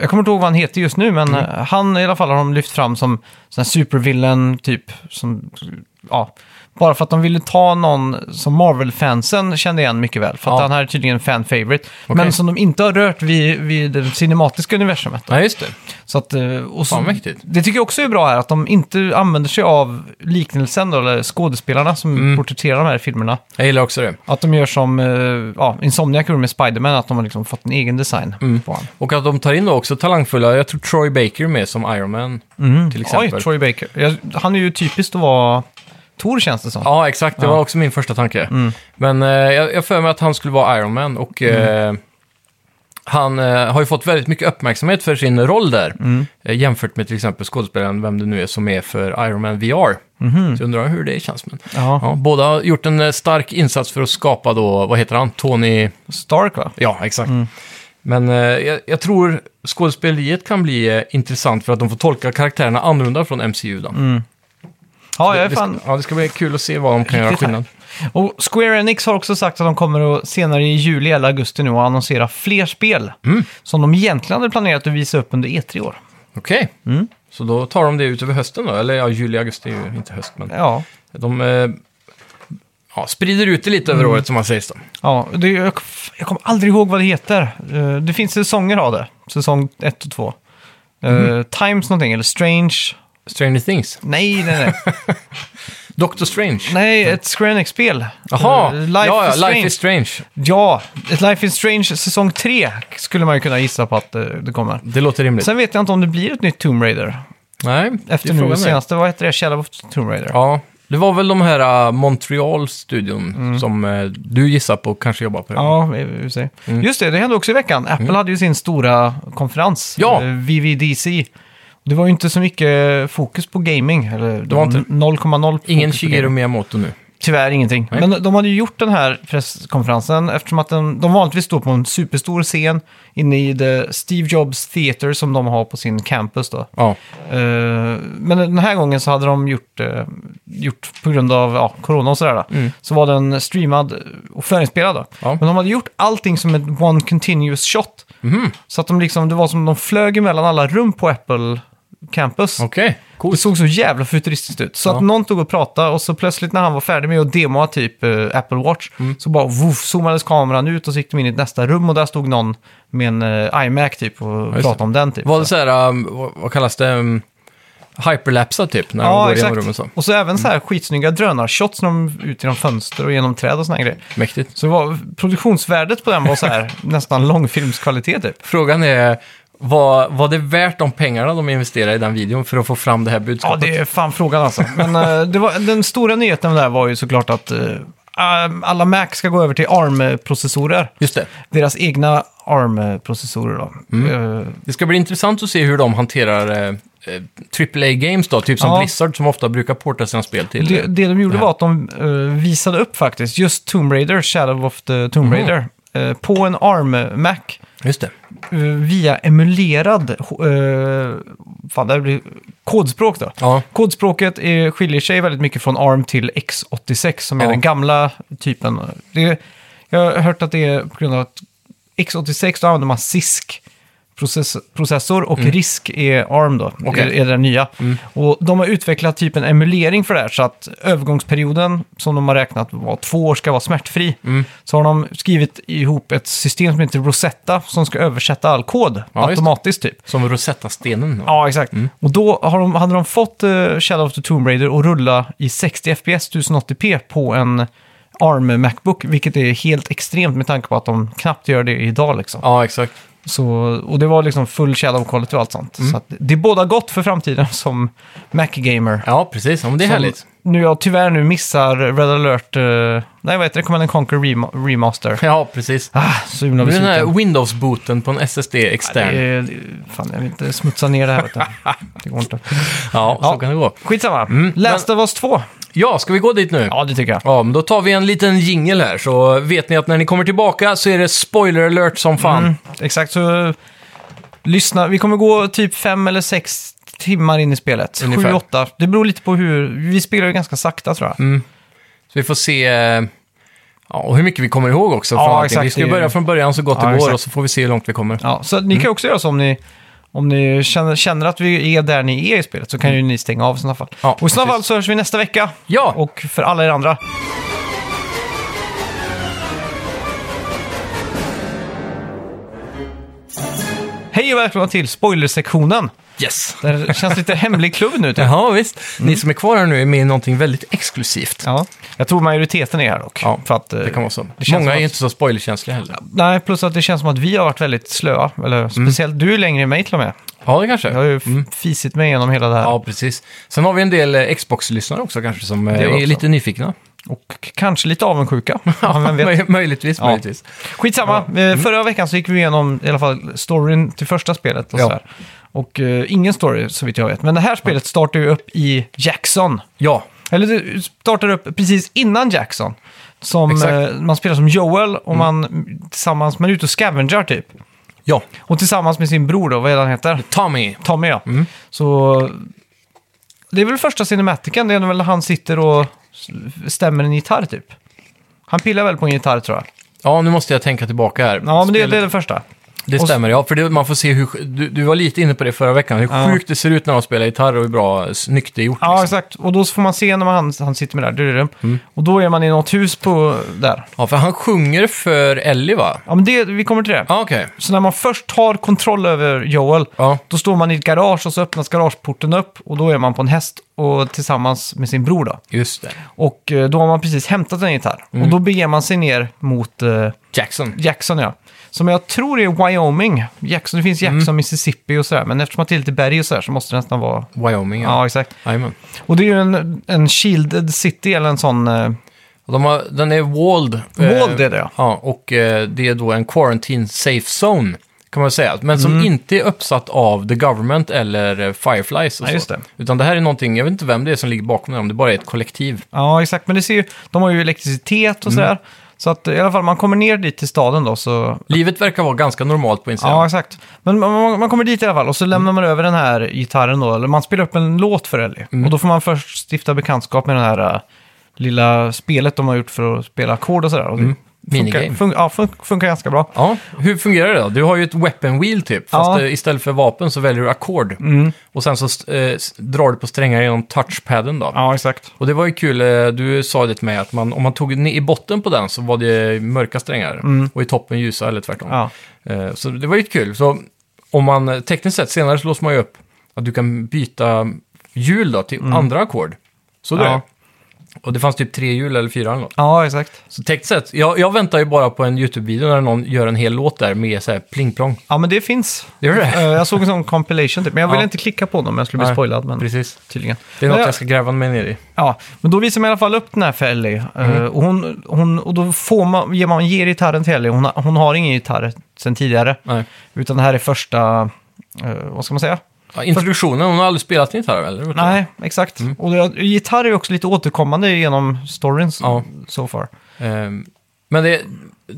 A: jag kommer inte ihåg vad han heter just nu, men eh,
B: Mm.
A: han i alla fall har de lyft fram som sån här supervillain typ. Som, ja, bara för att de ville ta någon som Marvel-fansen kände igen mycket väl. För att
B: Ja.
A: han här är tydligen en fan-favorite.
B: Okej.
A: Men som de inte har rört vid, vid det cinematiska universumet.
B: Ja, just det.
A: Så att, eh, och så,
B: Fan, mäktigt.
A: det tycker jag också är bra här, att de inte använder sig av liknelsen då, eller skådespelarna som
B: Mm.
A: porträtterar de här filmerna.
B: Jag gillar också det.
A: Att de gör som eh, ja, Insomniac gjorde med Spiderman, att de har liksom fått en egen design
B: Mm.
A: på honom.
B: Och att de tar in då också talangfulla, jag tror Troy Baker är med som Iron Man. Till exempel.
A: Mm. Oj, Troy Baker. Jag, han är ju typiskt att vara Tor känns det som.
B: Ja, exakt. Det var också min första tanke. Men eh, jag jag för mig att han skulle vara Iron Man och eh, han eh, har ju fått väldigt mycket uppmärksamhet för sin roll där. Eh, jämfört med till exempel skådespelaren, vem det nu är, som är för Iron Man VR. Så jag undrar hur det känns. Men,
A: Ja.
B: ja, båda har gjort en eh, stark insats för att skapa då, vad heter han, Tony...
A: Stark va?
B: Ja, exakt. Men eh, jag, jag tror skådespeleriet kan bli eh, intressant för att de får tolka karaktärerna annorlunda från MCU. Då.
A: Ja, jag är
B: Det,
A: fan...
B: det, ja, det ska bli kul att se vad de kan göra
A: Riktigt här.
B: skillnad.
A: Och Square Enix har också sagt att de kommer att senare i juli eller augusti nu att annonsera fler spel
B: Mm.
A: som de egentligen hade planerat att visa upp under E3 i år.
B: Okej.
A: Mm.
B: Så då tar de det ut över hösten då? Eller ja, juli, augusti är ju inte höst, men
A: Ja,
B: de eh, ja, sprider ut det lite
A: Mm.
B: över året som man säger. Då.
A: Ja, det, jag, jag kommer aldrig ihåg vad det heter. Eh, Det finns säsonger av det. Säsong 1 och 2.
B: Mm.
A: Times någonting, eller Strange.
B: Stranger Things.
A: Nej, nej, nej.
B: Doctor Strange.
A: nej ett Scranic-spel.
B: Jaha,
A: Eh, Life,
B: ja, ja,
A: is Strange.
B: Life is Strange.
A: Ja, ett Life is Strange säsong 3 skulle man ju kunna gissa på att eh, det kommer.
B: Det låter rimligt.
A: Sen vet jag inte om det blir ett nytt Tomb Raider.
B: Nej,
A: Efter
B: det är
A: nu
B: frågan är.
A: senaste, vad heter det? Shadow of Tomb Raider.
B: Ja, det var väl de här eh, Montreal-studion som eh, du gissar på kanske jobbar på.
A: Mm.
B: redan.
A: Ja, i- i och för sig.
B: Mm.
A: Just det, det hände också i veckan. Apple hade ju sin stora konferens,
B: Ja.
A: eh, VVDC. Det var ju inte så mycket fokus på gaming, eller det
B: var
A: var
B: inte-
A: 0,0
B: Ingen
A: fokus på
B: Shigeru
A: gaming.
B: Miyamoto nu.
A: Tyvärr ingenting.
B: Nej.
A: Men de hade ju gjort den här presskonferensen eftersom att den, de vanligtvis står på en superstor scen inne i the Steve Jobs Theater som de har på sin campus då.
B: Ja,
A: Eh, men den här gången så hade de gjort, eh, gjort på grund av ja, corona och sådär, då, så var den streamad och förinspelad. Då.
B: Mm. Ja.
A: Men de hade gjort allting som ett one continuous shot.
B: Mhm.
A: Så att de liksom, det var som de flög emellan alla rum på Apple Campus.
B: okej.
A: Det
B: Coolt.
A: såg så jävla futuristiskt ut. Så
B: Ja.
A: att någon tog och pratade och så plötsligt när han var färdig med att demoa typ eh, Apple Watch
B: Mm.
A: så bara woof, zoomades kameran ut och så gick de in i nästa rum och där stod någon med en eh, iMac typ och
B: det.
A: pratade om den typ.
B: Var det så här, um, vad, vad kallas det, um, hyperlapsa typ, när de går igenom rummen så? Mm.
A: även så här skitsnygga drönarshots när de ut genom fönster och genom träd och såna här grejer.
B: Mäktigt.
A: Så det var, produktionsvärdet på den var så här nästan långfilmskvalitet typ.
B: Frågan är, var, var det värt de pengarna de investerade i den videon för att få fram det här
A: Ja,
B: budskapet?
A: det är fan frågan alltså. Men eh, det var, den stora nyheten där var ju såklart att eh, um, alla Mac ska gå över till ARM-processorer.
B: Just det.
A: Deras egna ARM-processorer då.
B: Mm.
A: Eh,
B: Det ska bli intressant att se hur de hanterar eh, eh, AAA-games då, typ som
A: Ja.
B: Blizzard som ofta brukar porta sina spel till.
A: Det, det de gjorde var att de eh, visade upp faktiskt just Tomb Raider, Shadow of the Tomb
B: Mhm.
A: Raider, eh, på en ARM-Mac.
B: Just det.
A: eh, via emulerad eh, fan, det här blir kodspråk då.
B: Ja,
A: Kodspråket är, skiljer sig väldigt mycket från ARM till X86 som är
B: Ja.
A: den gamla typen. Det, jag har hört att det är på grund av att X86 då använder man CISK process- processor och RISK är ARM då, är,
B: Mm. Okej. Mm.
A: är den nya. Och de har utvecklat typ en emulering för det här så att övergångsperioden som de har räknat var två år ska vara smärtfri.
B: Mm.
A: Så har de skrivit ihop ett system som heter Rosetta som ska översätta all kod
B: just det.
A: automatiskt typ.
B: Som Rosetta-stenen. va?
A: Ja, exakt. Och då har de, hade de fått eh, Shadow of the Tomb Raider att rulla i 60 FPS 1080p på en ARM Macbook, vilket är helt extremt med tanke på att de knappt gör det idag. Liksom.
B: ja exakt.
A: Så, och det var liksom full Shadow quality och allt sånt.
B: Mm.
A: Så att det är båda gott för framtiden som Mac-gamer.
B: Ja, precis. Ja, men det är
A: Som
B: härligt.
A: Nu jag tyvärr nu missar Red Alert, eh, nej vad heter det, Command and Conquer rema- Remaster.
B: Ja, precis.
A: Ah, så himla
B: Det är den här
A: besviken.
B: Windows-booten på en SSD extern.
A: Det
B: Ja,
A: är- det är- Fan, jag vill inte smutsa ner det här. Vet du. Det går inte.
B: så
A: Ja.
B: kan det gå.
A: Skitsamma. Last of us 2.
B: Ja, ska vi gå dit nu?
A: Ja, det tycker jag.
B: Ja, men då tar vi en liten jingle här, så vet ni att när ni kommer tillbaka så är det spoiler alert som fan.
A: Mm, exakt, så eh, lyssna. Vi kommer gå typ fem eller sex timmar in i spelet.
B: Ungefär.
A: Sju, åtta. Det beror lite på hur... Vi spelar ju ganska sakta tror jag.
B: Mm. Så vi får se eh, ja, och hur mycket vi kommer ihåg också.
A: Ja,
B: från allting.
A: exakt.
B: vi ska
A: Det
B: ju
A: är-
B: börja från början så gott det
A: Ja,
B: går
A: exakt.
B: och så får vi se hur långt vi kommer.
A: Ja, så
B: Mm.
A: ni kan ju också göra så om ni, om ni känner, känner att vi är där ni är i spelet så kan ju ni stänga av i sådana fall.
B: Mm. Ja,
A: och i sådana
B: precis.
A: fall så hörs vi nästa vecka.
B: Ja.
A: Och för alla er andra. Hej och välkomna till spoilersektionen.
B: Yes!
A: Det känns lite hemlig klubb nu. Typ.
B: Jaha, visst. Ni som är kvar här nu är med i någonting väldigt exklusivt.
A: Ja. Jag tror majoriteten är här dock.
B: Ja,
A: för att, eh,
B: Det kan vara så.
A: känns som
B: Många är ju
A: att-
B: inte så spoilerkänsliga heller.
A: Nej, plus att det känns som att vi har varit väldigt slöa. Eller
B: Mm.
A: speciellt du är längre än mig till och med.
B: Ja, det kanske.
A: Jag har ju f- fisit mig igenom hela det här.
B: Mm. Ja, precis. Sen har vi en del eh, Xbox-lyssnare också kanske som eh,
A: Det
B: är
A: också.
B: lite nyfikna.
A: Och k- kanske lite avundsjuka. Ja, vem vet.
B: Möj- möjligtvis,
A: Ja.
B: möjligtvis.
A: Skitsamma,
B: Mm.
A: Eh, förra veckan så gick vi igenom i alla fall storyn till första spelet. Och,
B: Ja.
A: sådär. och eh, ingen story så vitt jag vet. Men det här spelet startar ju upp i Jackson.
B: Ja,
A: Eller det startar upp precis innan Jackson. Som,
B: Exakt. Mm.
A: eh, man spelar som Joel och man tillsammans, man är ute och scavengar typ.
B: ja.
A: Och tillsammans med sin bror då, vad är det han heter?
B: Tommy.
A: Tommy ja.
B: Mm.
A: Så det är väl första cinematiken, det är väl när han sitter och stämmer en gitarr typ. Han pillar väl på en gitarr tror jag.
B: Ja, nu måste jag tänka tillbaka här.
A: Ja, men det,
B: Spelet-
A: det är det första.
B: Det
A: Och-
B: stämmer, ja. För det, man får se hur... Du, du var lite inne på det förra veckan, hur
A: Ja.
B: sjukt det ser ut när de spelar gitarr och hur bra, snyggt det är gjort.
A: Ja,
B: liksom.
A: exakt. Och då får man se när han, han sitter med det där. Du,
B: Mm.
A: du, du. Och då är man i något hus på där.
B: ja, för han sjunger för Ellie, va?
A: Ja, men det, vi kommer till det.
B: Ja, okej.
A: Så när man först har kontroll över Joel,
B: Ja.
A: då står man i ett garage och så öppnas garageporten upp och då är man på en häst och tillsammans med sin bror då.
B: Just det.
A: Och eh, då har man precis hämtat en gitarr. Och då beger man sig ner mot eh,
B: Jackson.
A: Jackson, ja. Som jag tror är Wyoming. Jackson, det finns Jackson, Mississippi och sådär. Men eftersom att det är lite berg och sådär så måste det nästan vara...
B: Wyoming, ja.
A: Ja, exakt.
B: Jajamän.
A: Och det är ju en, en shielded city eller en sån... Eh,
B: Och De har, den är walled. eh,
A: Walled är det, ja.
B: ja. Och eh, det är då en quarantine safe zone, kan man säga. Men som
A: Mm.
B: inte är uppsatt av the government eller eh, Fireflies och
A: Ja,
B: så.
A: just det.
B: Utan det här är någonting, jag vet inte vem det är som ligger bakom det, om det bara är ett kollektiv.
A: Ja, exakt. Men det ser ju, de har ju elektricitet och sådär. Så att i alla fall, man kommer ner dit till staden då så...
B: Livet verkar vara ganska normalt på insidan.
A: Ja, exakt. Men man- man, man kommer dit i alla fall och så lämnar man över den här gitarren då. Eller man spelar upp en låt för Ellie.
B: Mm.
A: Och då får man först stifta bekantskap med det här eh, lilla spelet de har gjort för att spela ackord och sådär. Och det Funkar,
B: Mm. Minigame.
A: fun, ja, fun, funkar ganska bra.
B: Ja, hur fungerar det då? Du har ju ett weapon wheel typ, fast
A: Ja. Mm.
B: eh, istället för vapen så väljer du ackord. Och sen så eh, s- drar du på strängar genom touchpadden då.
A: Ja, exakt.
B: Och det var ju kul, eh, du sa det till mig, att man, om man tog ni- i botten på den så var det mörka strängar och i toppen ljusa eller tvärtom.
A: Mm. Ja.
B: Eh, Så det var ju kul. Så om man eh, tekniskt sett senare så låser man ju upp att du kan byta hjul då till andra ackord. Så
A: Mm. Ja.
B: ja. Och det fanns typ tre hjul eller fyra eller något.
A: ja, exakt.
B: Så tekniskt sett, jag, jag väntar ju bara på en YouTube-video när någon gör en hel låt där med så här pling-plong.
A: Ja, men det finns.
B: Det gör det?
A: Eh, Jag såg en sån compilation typ, men jag ville
B: Ja.
A: inte klicka på dem, jag skulle bli
B: Nej,
A: spoilad. Men
B: Precis.
A: tydligen.
B: Det är något
A: Men jag-
B: jag ska gräva mig ner i.
A: Ja, men då visar man i alla fall upp den här för Ellie. Eh,
B: Mm.
A: och, hon, hon, och då får man, ger man ger gitarren till Ellie. Hon, har- hon har ingen gitarr sen tidigare.
B: Nej.
A: Utan det här är första, eh, vad ska man säga?
B: Ja, introduktionen, hon har aldrig spelat gitarr eller?
A: Nej, exakt.
B: Mm.
A: Och det, gitarr är också lite återkommande genom storyn s-
B: Ja.
A: so far.
B: Ehm, Men det,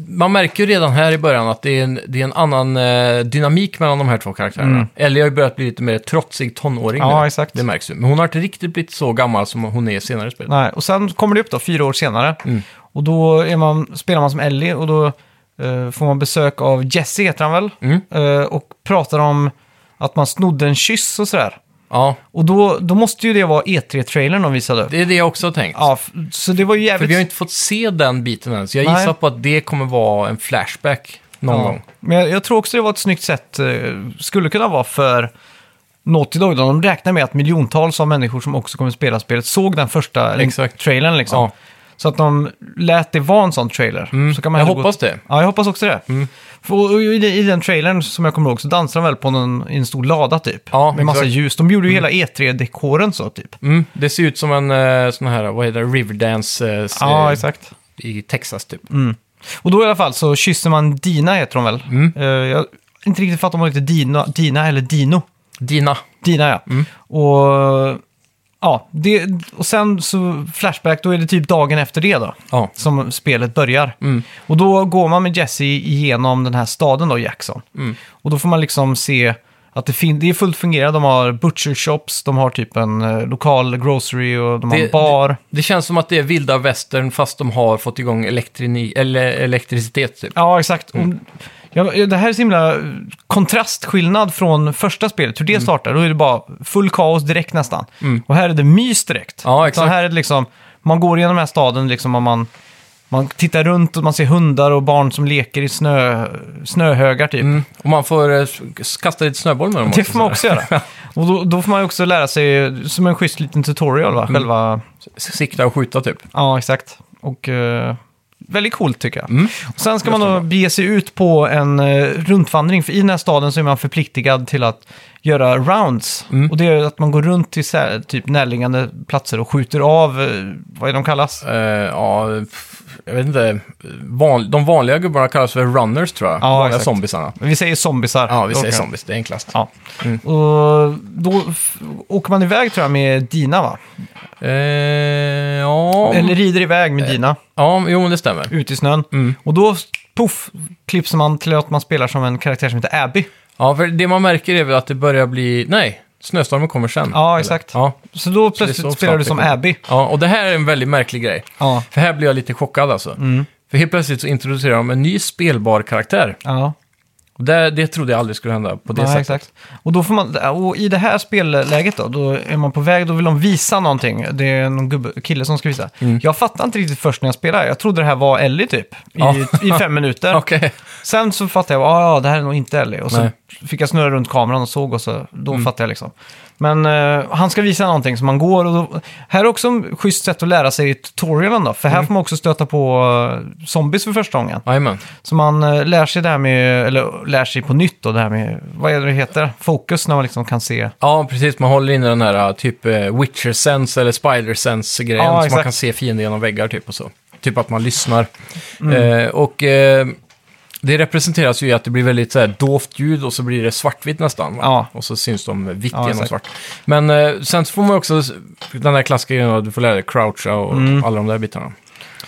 B: man märker ju redan här i början att det är en, det är en annan eh, dynamik mellan de här två karaktärerna. Ellie har ju börjat bli lite mer trotsig tonåring
A: Mm. Ja,
B: nu.
A: exakt.
B: Det märks ju. Men hon har inte riktigt blivit så gammal som hon är i senare i spelet.
A: Nej, och sen kommer det upp då, fyra år senare.
B: Mm.
A: Och då är man, spelar man som Ellie och då eh, får man besök av Jesse, heter han väl?
B: Mm.
A: Eh, och pratar om att man snodde en kyss och sådär.
B: Ja,
A: Och då, då måste ju det vara E3-trailern de visade upp.
B: det är det jag också har tänkt.
A: Ja, f- så det var ju
B: För
A: jävligt...
B: vi har inte fått se den biten än, så jag
A: Nej.
B: gissar på att det kommer vara en flashback någon gång.
A: Men jag, jag tror också det var ett snyggt sätt, eh, skulle kunna vara för Naughty Dog. De räknar med att miljontals av människor som också kommer spela spelet såg den första
B: Exakt.
A: trailern. Liksom.
B: Ja. Mm.
A: Så att de lät det vara en sån trailer. Så kan man
B: jag
A: hellre gå-
B: hoppas Mm. det.
A: Ja, jag hoppas också det. För, och, och i, den- I den trailern, som jag kommer ihåg, så dansar de väl på någon, i en stor lada typ.
B: Ja,
A: med massa
B: exakt.
A: ljus. De gjorde ju hela E3-dekoren så typ.
B: Mm, det ser ut som en eh, sån här, vad heter det, Riverdance eh, s- eh,
A: exakt.
B: i Texas typ.
A: Och då i alla fall så kysser man Dina, heter hon väl?
B: Mm.
A: Eh, jag har inte riktigt fattat om hon heter Dina, Dina eller Dino.
B: Dina.
A: Dina ja.
B: Mm.
A: Och, ja det, och sen så Flashback, då är det typ dagen efter det då.
B: Ja.
A: Som spelet börjar.
B: Mm.
A: Och då går man med Jesse igenom den här staden då, Jackson.
B: Mm.
A: Och då får man liksom se att det, fin- det är fullt fungerande. De har butcher shops, de har typ en eh, lokal grocery och de har
B: Det-
A: en bar.
B: Det känns som att det är vilda västern fast de har fått igång elektrini- eller elektricitet typ.
A: Ja, exakt. Och- Ja, ja, det här är så himla eh, kontrastskillnad från första spelet, hur
B: Mm.
A: det startar. Då är det bara full kaos direkt nästan. Och här är det mys direkt.
B: Ja,
A: Utan
B: exakt.
A: här är det liksom, man går genom den här staden liksom och man, man tittar runt och man ser hundar och barn som leker i snö, snöhögar typ.
B: Mm. Och man får eh, s- kasta lite snöboll med dem
A: Det får man också göra. Och då, då får man ju också lära sig, eh, som en schysst liten tutorial,
B: Mm.
A: va? själva
B: Sikta och skjuta typ.
A: Ja, exakt. Och eh, väldigt coolt tycker jag.
B: Mm.
A: Och sen ska man då bege sig ut på en eh, rundvandring, för i den här staden så är man förpliktigad till att göra rounds.
B: Mm.
A: Och det är att man går runt till så här, typ närliggande platser och skjuter av, eh, vad är de kallas?
B: Eh, ja, f- jag vet inte. Van, de vanliga gubbarna kallas för runners tror jag.
A: Ja,
B: vanliga
A: exakt.
B: zombiesarna.
A: Vi säger zombisar.
B: Ja, vi säger
A: Okej.
B: zombies. Mm. Det är enklast.
A: Ja. Och då f- åker man iväg tror jag med Dina va?
B: Eh, ja,
A: Eller rider iväg med Dina
B: ja, jo men det stämmer.
A: ut i snön.
B: Mm.
A: Och då, poff, klipps man till att man spelar som en karaktär som heter Abby.
B: Ja, för det man märker är väl att det börjar bli... Nej, snöstormen kommer sen.
A: Ja,
B: Eller?
A: exakt.
B: Ja.
A: Så då
B: Så det är
A: plötsligt
B: så
A: spelar du
B: snabbt
A: som
B: det kommer.
A: Abby.
B: Ja, och det här är en väldigt märklig grej.
A: Ja. Mm.
B: För här blir jag lite chockad alltså. För helt plötsligt så introducerar de en ny spelbar karaktär.
A: Ja,
B: Och det, det trodde jag aldrig skulle hända på det
A: nej,
B: sättet.
A: exakt. Och, då får man, och i det här spelläget då, då är man på väg, då vill de visa någonting. Det är någon gubbe, kille som ska visa.
B: Mm.
A: Jag fattade inte riktigt först när jag spelade. Jag trodde det här var Ellie typ, i,
B: Ja.
A: i fem minuter.
B: Okej.
A: Sen så fattade jag, ja, ja, det här är nog inte Ellie. Och så
B: Nej. Mm.
A: fick jag snurra runt kameran och såg och så, då fattade jag liksom. Men eh, han ska visa någonting som man går och då, Här är också ett schysst sätt att lära sig tutorialen då, för här
B: Mm.
A: får man också stöta på eh, zombies för första gången.
B: Jajamän.
A: Så man eh, lär sig det här med, eller lär sig på nytt då, det här med, vad är det det heter? Fokus när man liksom kan se.
B: Ja, precis. Man håller inne den här typ eh, Witcher Sense eller Spider Sense-grejen.
A: Ja,
B: så man
A: exakt.
B: kan se fienden genom väggar typ och så. Typ att man lyssnar.
A: Mm.
B: Eh, och eh, det representeras ju i att det blir väldigt så här, dovt ljud och så blir det svartvitt nästan. va?
A: Ja.
B: Och så syns de vitt
A: Ja,
B: genom
A: exakt.
B: svart. Men eh, sen så får man också s- den här klassiska grejen att du får lära dig croucha och alla de där bitarna.
A: Mm.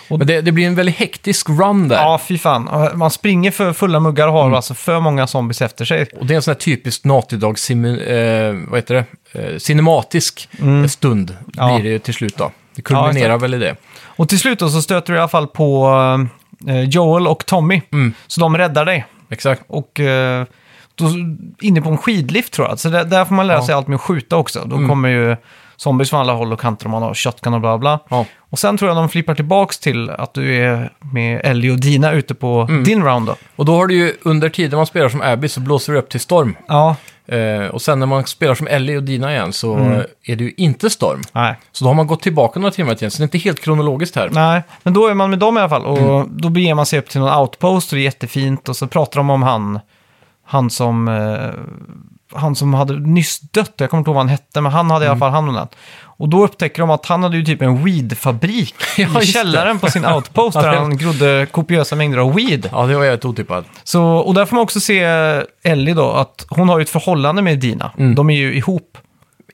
A: Och-
B: Men det, det blir en väldigt hektisk run där.
A: Ja, fy fan. Och Man springer för fulla muggar och har alltså för många zombies efter sig.
B: Och det är en sån här typisk Naughty Dog, simu- eh, vad heter det? Eh, cinematisk eh, stund
A: Mm. Ja.
B: blir det ju till slut då. Det kulminerar
A: Ja,
B: väl i det.
A: Och till slut då så stöter du i alla fall på eh, Joel och Tommy. Så de räddar dig.
B: Mm, Exakt.
A: Och eh, då, inne på en skidlift tror jag. Så där, där får man lära
B: Ja.
A: sig allt med att skjuta också. Då kommer ju zombies från alla håll och kanter och man har shotgun och bla bla.
B: Ja.
A: Och sen tror jag de flippar tillbaks till att du är med Ellie och Dina ute på din round då.
B: Och då har du ju, under tiden man spelar som Abby så blåser det upp till storm.
A: Ja,
B: Eh, och sen när man spelar som Ellie och Dina igen så
A: Mm.
B: eh, är det ju inte storm.
A: nej.
B: Så då har man gått tillbaka några timmar igen, så det är inte helt kronologiskt här.
A: Nej, men då är man med dem i alla fall. Och
B: Mm.
A: då beger man sig upp till någon outpost och det är jättefint. Och så pratar de om han, han som, eh, han som hade nyss dött. Jag kommer inte ihåg vad han hette, men han hade
B: Mm.
A: i alla fall hand om den. Och då upptäcker de att han hade ju typ en weedfabrik
B: just det.
A: i källaren på sin outpost
B: Ja,
A: där
B: det-
A: han grodde kopiösa mängder av weed.
B: Ja, det var jävligt otippat.
A: Så, och där får man också se Ellie då, att hon har ju ett förhållande med Dina. De är ju ihop.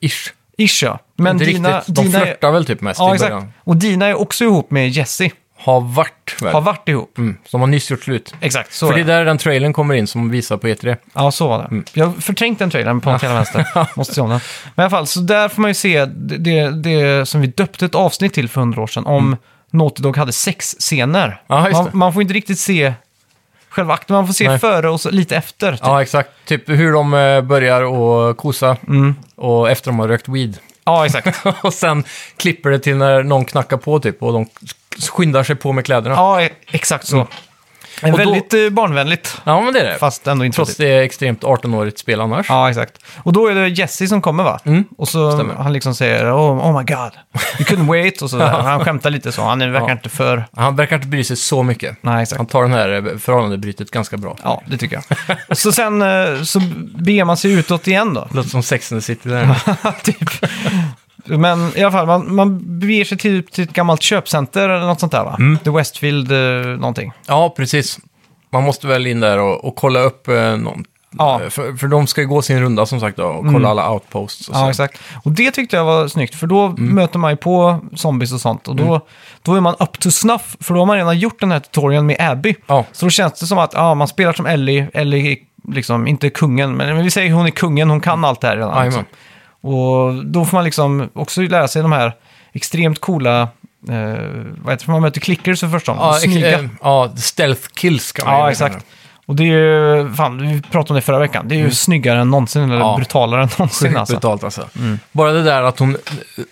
B: Ish.
A: Ish ja. Men
B: Mm. inte
A: Dina,
B: riktigt. De
A: Dina är,
B: flörtar väl typ mest
A: ja,
B: i
A: exakt.
B: början.
A: Och Dina är också ihop med Jesse.
B: Har varit väl?
A: Har varit ihop.
B: Mm. Så de har nyss gjort slut.
A: Exakt, så
B: För det Mm.
A: är
B: är
A: det.
B: där den trailern kommer in som visar på E E3.
A: Ja, så var det. Jag har förträngt den trailern på något jävla vänster. Måste se om den. Men i alla fall, så där får man ju se det, det, det som vi döpte ett avsnitt till för hundra år sedan om Naughty Dog hade sex scener.
B: Mm. Ja, just
A: man,
B: det.
A: man får inte riktigt se själva akten. Man får se
B: Nej.
A: före och så lite efter. Typ. Ja.
B: Ja, exakt. Typ hur de eh, börjar och kosa
A: Mm.
B: och efter de har rökt weed.
A: exakt.
B: och sen klipper det till när någon knackar på typ och de skyndar sig på med kläderna. Ja,
A: Ja, e- exakt så.
B: Mm.
A: Men
B: Och då-
A: Väldigt eh, barnvänligt,
B: men det är det.
A: fast ändå inte
B: Trots
A: riktigt.
B: det är extremt 18-årigt spel annars.
A: Ja, exakt. Och då är det Jesse som kommer va?
B: Mm,
A: Och så
B: stämmer.
A: han liksom säger oh, oh my god, you couldn't wait. Och så där. Han skämtar lite så, han är- verkar
B: Ja.
A: inte för...
B: Han verkar inte bry sig så mycket.
A: Nej, exakt.
B: Han tar den här eh, förhållandebrytet ganska bra.
A: Ja, det tycker jag. Och så sen eh, så beger man sig utåt igen då.
B: Låter som Sex and the City där.
A: typ. Men i alla fall, man, man beger sig typ till ett gammalt köpcenter eller något sånt där va? The Westfield eh, någonting.
B: ja, precis. Man måste väl in där och, och kolla upp eh, någon.
A: Ja. Mm.
B: Eh, För, för de ska ju gå sin runda som sagt då, och kolla alla outposts. Och så.
A: Ja, exakt. Och det tyckte jag var snyggt, för då möter man ju på zombies och sånt. Och då, då är man up to snuff, för då har man redan gjort den här tutorialen med Abby.
B: Ja.
A: Så då känns det som att ja, man spelar som Ellie, Ellie är liksom, inte kungen, men vi säger hon är kungen, hon kan allt det här redan.
B: Jajamän.
A: Liksom. Och då får man liksom också lära sig de här extremt coola, eh, vad heter det, för man möter clickers för första gången,
B: Ja,
A: och
B: ex-
A: smyga.
B: eh, ja, stealth kills kan man
A: Ja,
B: ju
A: exakt.
B: kalla det. Mm.
A: Och det är ju, fan, vi pratade om det förra veckan, det är ju snyggare än någonsin, eller
B: Ja.
A: brutalare än någonsin
B: Sjukt
A: alltså.
B: brutalt alltså. Bara det där att hon,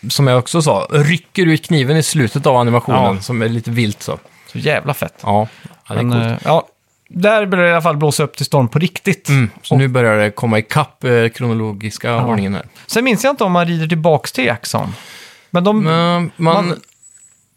B: eh, som jag också sa, rycker ut kniven i slutet av animationen
A: Ja.
B: som är lite vilt så.
A: Så jävla fett.
B: Ja, ja det är
A: Men,
B: coolt.
A: eh, ja, där börjar det i alla fall blåsa upp till storm på riktigt.
B: Mm, så nu börjar det komma ikapp eh, kronologiska ordningen här.
A: Sen minns jag inte om man rider tillbaks till Jackson. Men de,
B: Men man,
A: Mm. Man-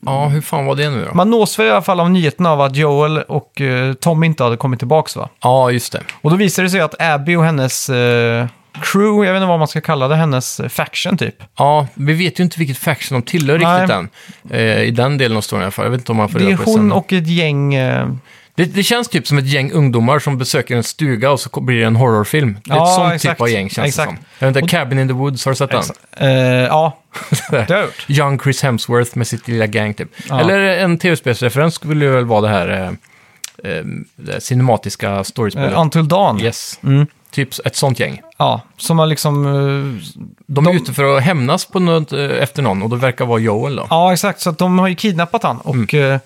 B: Ja, hur fan var det nu då?
A: man nås väl i alla fall av nyheten av att Joel och eh, Tom inte hade kommit tillbaks va?
B: ja, just det.
A: Och då visar det sig att Abby och hennes eh, crew, jag vet inte vad man ska kalla det, hennes eh, faction typ.
B: Ja, vi vet ju inte vilket faction de tillhör
A: Nej.
B: riktigt än. Eh, I den delen av storyn i alla fall. Jag vet inte om man får
A: Det är
B: reda på det
A: hon
B: sen.
A: och ett gäng... Eh,
B: Det, det känns typ som ett gäng ungdomar som besöker en stuga och så ko- blir det en horrorfilm. Det är
A: Ja,
B: ett sånt
A: exakt.
B: typ av gäng känns
A: Exakt.
B: det som. Jag vet inte, Cabin in the Woods, har du sett den?
A: eh, ja, det har jag gjort.
B: Young Chris Hemsworth med sitt lilla gang typ.
A: Ja.
B: Eller en tv-spelsreferens skulle ju väl vara det här eh, eh, det cinematiska storiespelet.
A: Eh, Until Dawn.
B: yes.
A: Mm.
B: Typ ett sånt gäng.
A: Ja, som har liksom... eh,
B: De är ute för att hämnas på något, eh, efter någon och det verkar vara Joel då.
A: Ja, exakt. Så att de har ju kidnappat han. Och
B: Mm.
A: eh,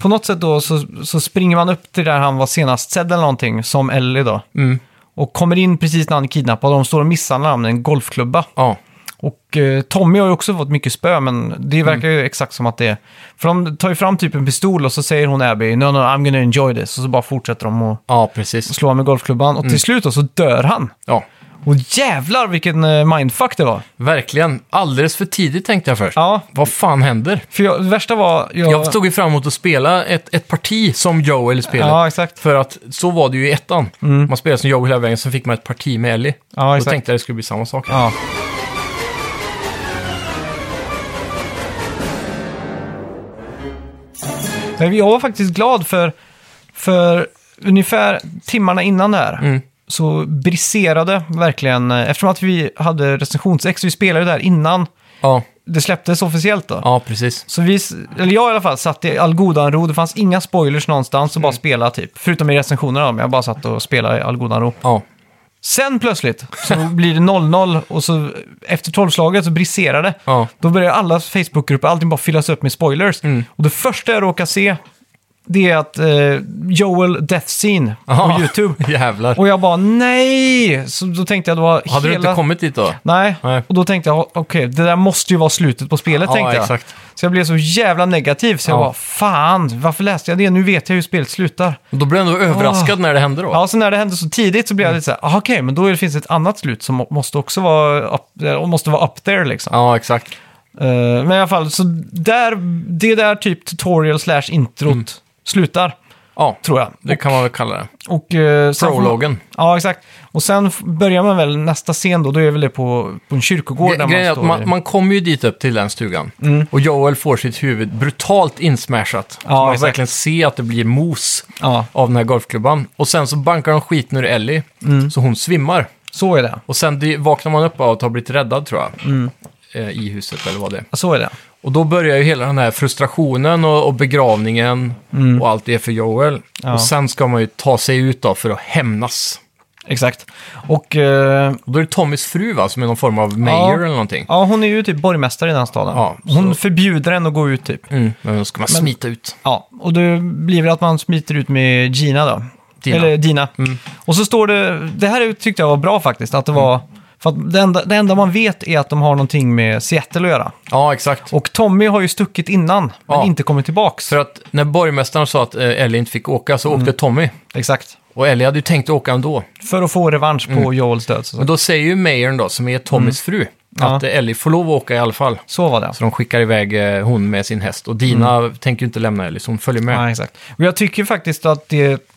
A: på något sätt då så, så springer man upp till där han var senast sedd eller någonting, som Ellie då.
B: Mm.
A: Och kommer in precis när han är kidnappad. De står och misshandlar honom med en golfklubba.
B: Ja,
A: Och eh, Tommy har ju också fått mycket spö, men det verkar ju exakt som att det är... För de tar ju fram typ en pistol och så säger hon Abby, no, no, I'm gonna enjoy this. Och så bara fortsätter de att
B: ja precis.
A: slå honom med golfklubban. Och till slut då så dör han.
B: Ja.
A: Och jävlar vilken eh, mindfuck det var.
B: Verkligen. Alldeles för tidigt tänkte jag först.
A: Ja,
B: Vad fan händer?
A: för jag, det värsta var... Jag,
B: Jag stod ju fram emot att spela ett, ett parti som Joel i spelet.
A: Ja, exakt.
B: För att så var det ju i ettan. Man spelade som Joel hela vägen, sen fick man ett parti med Ellie.
A: Ja,
B: Då
A: exakt.
B: tänkte jag det skulle bli samma sak.
A: Ja. Men jag var faktiskt glad för, för ungefär timmarna innan det här så briserade verkligen, eh, eftersom att vi hade recensionsex, vi spelade ju där innan
B: Ja,
A: det släpptes officiellt då.
B: ja precis.
A: Så vi, s- eller jag i alla fall, satt i all godan ro. Det fanns inga spoilers någonstans och bara spela typ. Förutom i recensionerna då, men jag bara satt och spelade i all godan ro.
B: Ja.
A: Sen plötsligt så blir det 0-0 och så efter tolvslaget så briserar det.
B: Ja.
A: Då börjar alla Facebookgrupper, allting bara fyllas upp med spoilers.
B: Mm.
A: Och det första jag råkar se, det är att eh, Joel Death Scene
B: Aha.
A: på YouTube.
B: Jävlar.
A: Och jag bara nej! Så då tänkte jag det var
B: Hade
A: hela...
B: du inte kommit dit då?
A: Nej.
B: Nej.
A: och då tänkte jag okej, det där måste ju vara slutet på spelet
B: Ja,
A: tänkte jag.
B: exakt.
A: Så jag blev så jävla negativ så jag
B: Ja.
A: bara fan, varför läste jag det? Nu vet jag hur spelet slutar.
B: Och Då blev jag ändå överraskad när det hände då.
A: Ah. Ja, så när det hände så tidigt så blev
B: Mm.
A: jag lite så här, "Ah, okej, men då är det- finns det ett annat slut som må- måste också vara up, eh, måste vara up there liksom.
B: Ja, exakt.
A: Eh, men i alla fall, så där, det är där typ tutorial slash introt slutar,
B: Ja,
A: tror jag.
B: Mm. det kan man väl kalla det.
A: Och, eh, sen får man-
B: Prologen.
A: Ja, exakt. Och sen f- börjar man väl nästa scen då, då är väl det på, på en kyrkogård
B: Gre-
A: där
B: Grejen är
A: man
B: att
A: står. i- Mm.
B: man, man kommer ju dit upp till den stugan. Och Joel får sitt huvud brutalt insmashat. så man
A: exakt.
B: verkligen ser att det blir mos
A: Ja,
B: av den här golfklubban. Och sen så bankar de skiten ur Ellie,
A: Mm.
B: så hon svimmar.
A: så är det.
B: Och sen dy- vaknar man upp av att ha blivit räddad tror jag.
A: Mm.
B: Eh, I huset eller vad det är.
A: Så är det.
B: Och då börjar ju hela den här frustrationen och, och begravningen och allt det för Joel.
A: Mm. Ja.
B: Och sen ska man ju ta sig ut då för att hämnas.
A: Exakt. Och eh,
B: Och då är det Tommys fru va, som är någon form av mayor eller någonting.
A: ja, hon är ju typ borgmästare i den här staden.
B: Ja,
A: hon förbjuder en att gå ut typ.
B: Mm. Men då ska man smita ut.
A: Ja, och det blir väl att man smiter ut med Gina då.
B: Dina. Mm.
A: Eller Dina. Och så står det, det här tyckte jag var bra faktiskt, att det var...
B: Mm.
A: För att det enda, det enda man vet är att de har någonting med Seattle att göra.
B: Ja, exakt.
A: Och Tommy har ju stuckit innan, men
B: Ja.
A: inte kommit tillbaks.
B: För att när borgmästaren sa att eh, Ellie inte fick åka
A: Mm.
B: så åkte Tommy.
A: Exakt.
B: Och Ellie hade ju tänkt åka ändå.
A: För att få revansch på
B: Mm.
A: Joels död. Så,
B: Men då säger ju Mayern då, som är Tommys fru,
A: Mm. Ja.
B: att eh, Ellie får lov att åka i alla fall.
A: så var det.
B: Så de skickar iväg eh, hon med sin häst. Och Dina
A: Mm.
B: tänker ju inte lämna Ellie, så hon följer med.
A: Ja, exakt. Och jag tycker faktiskt att det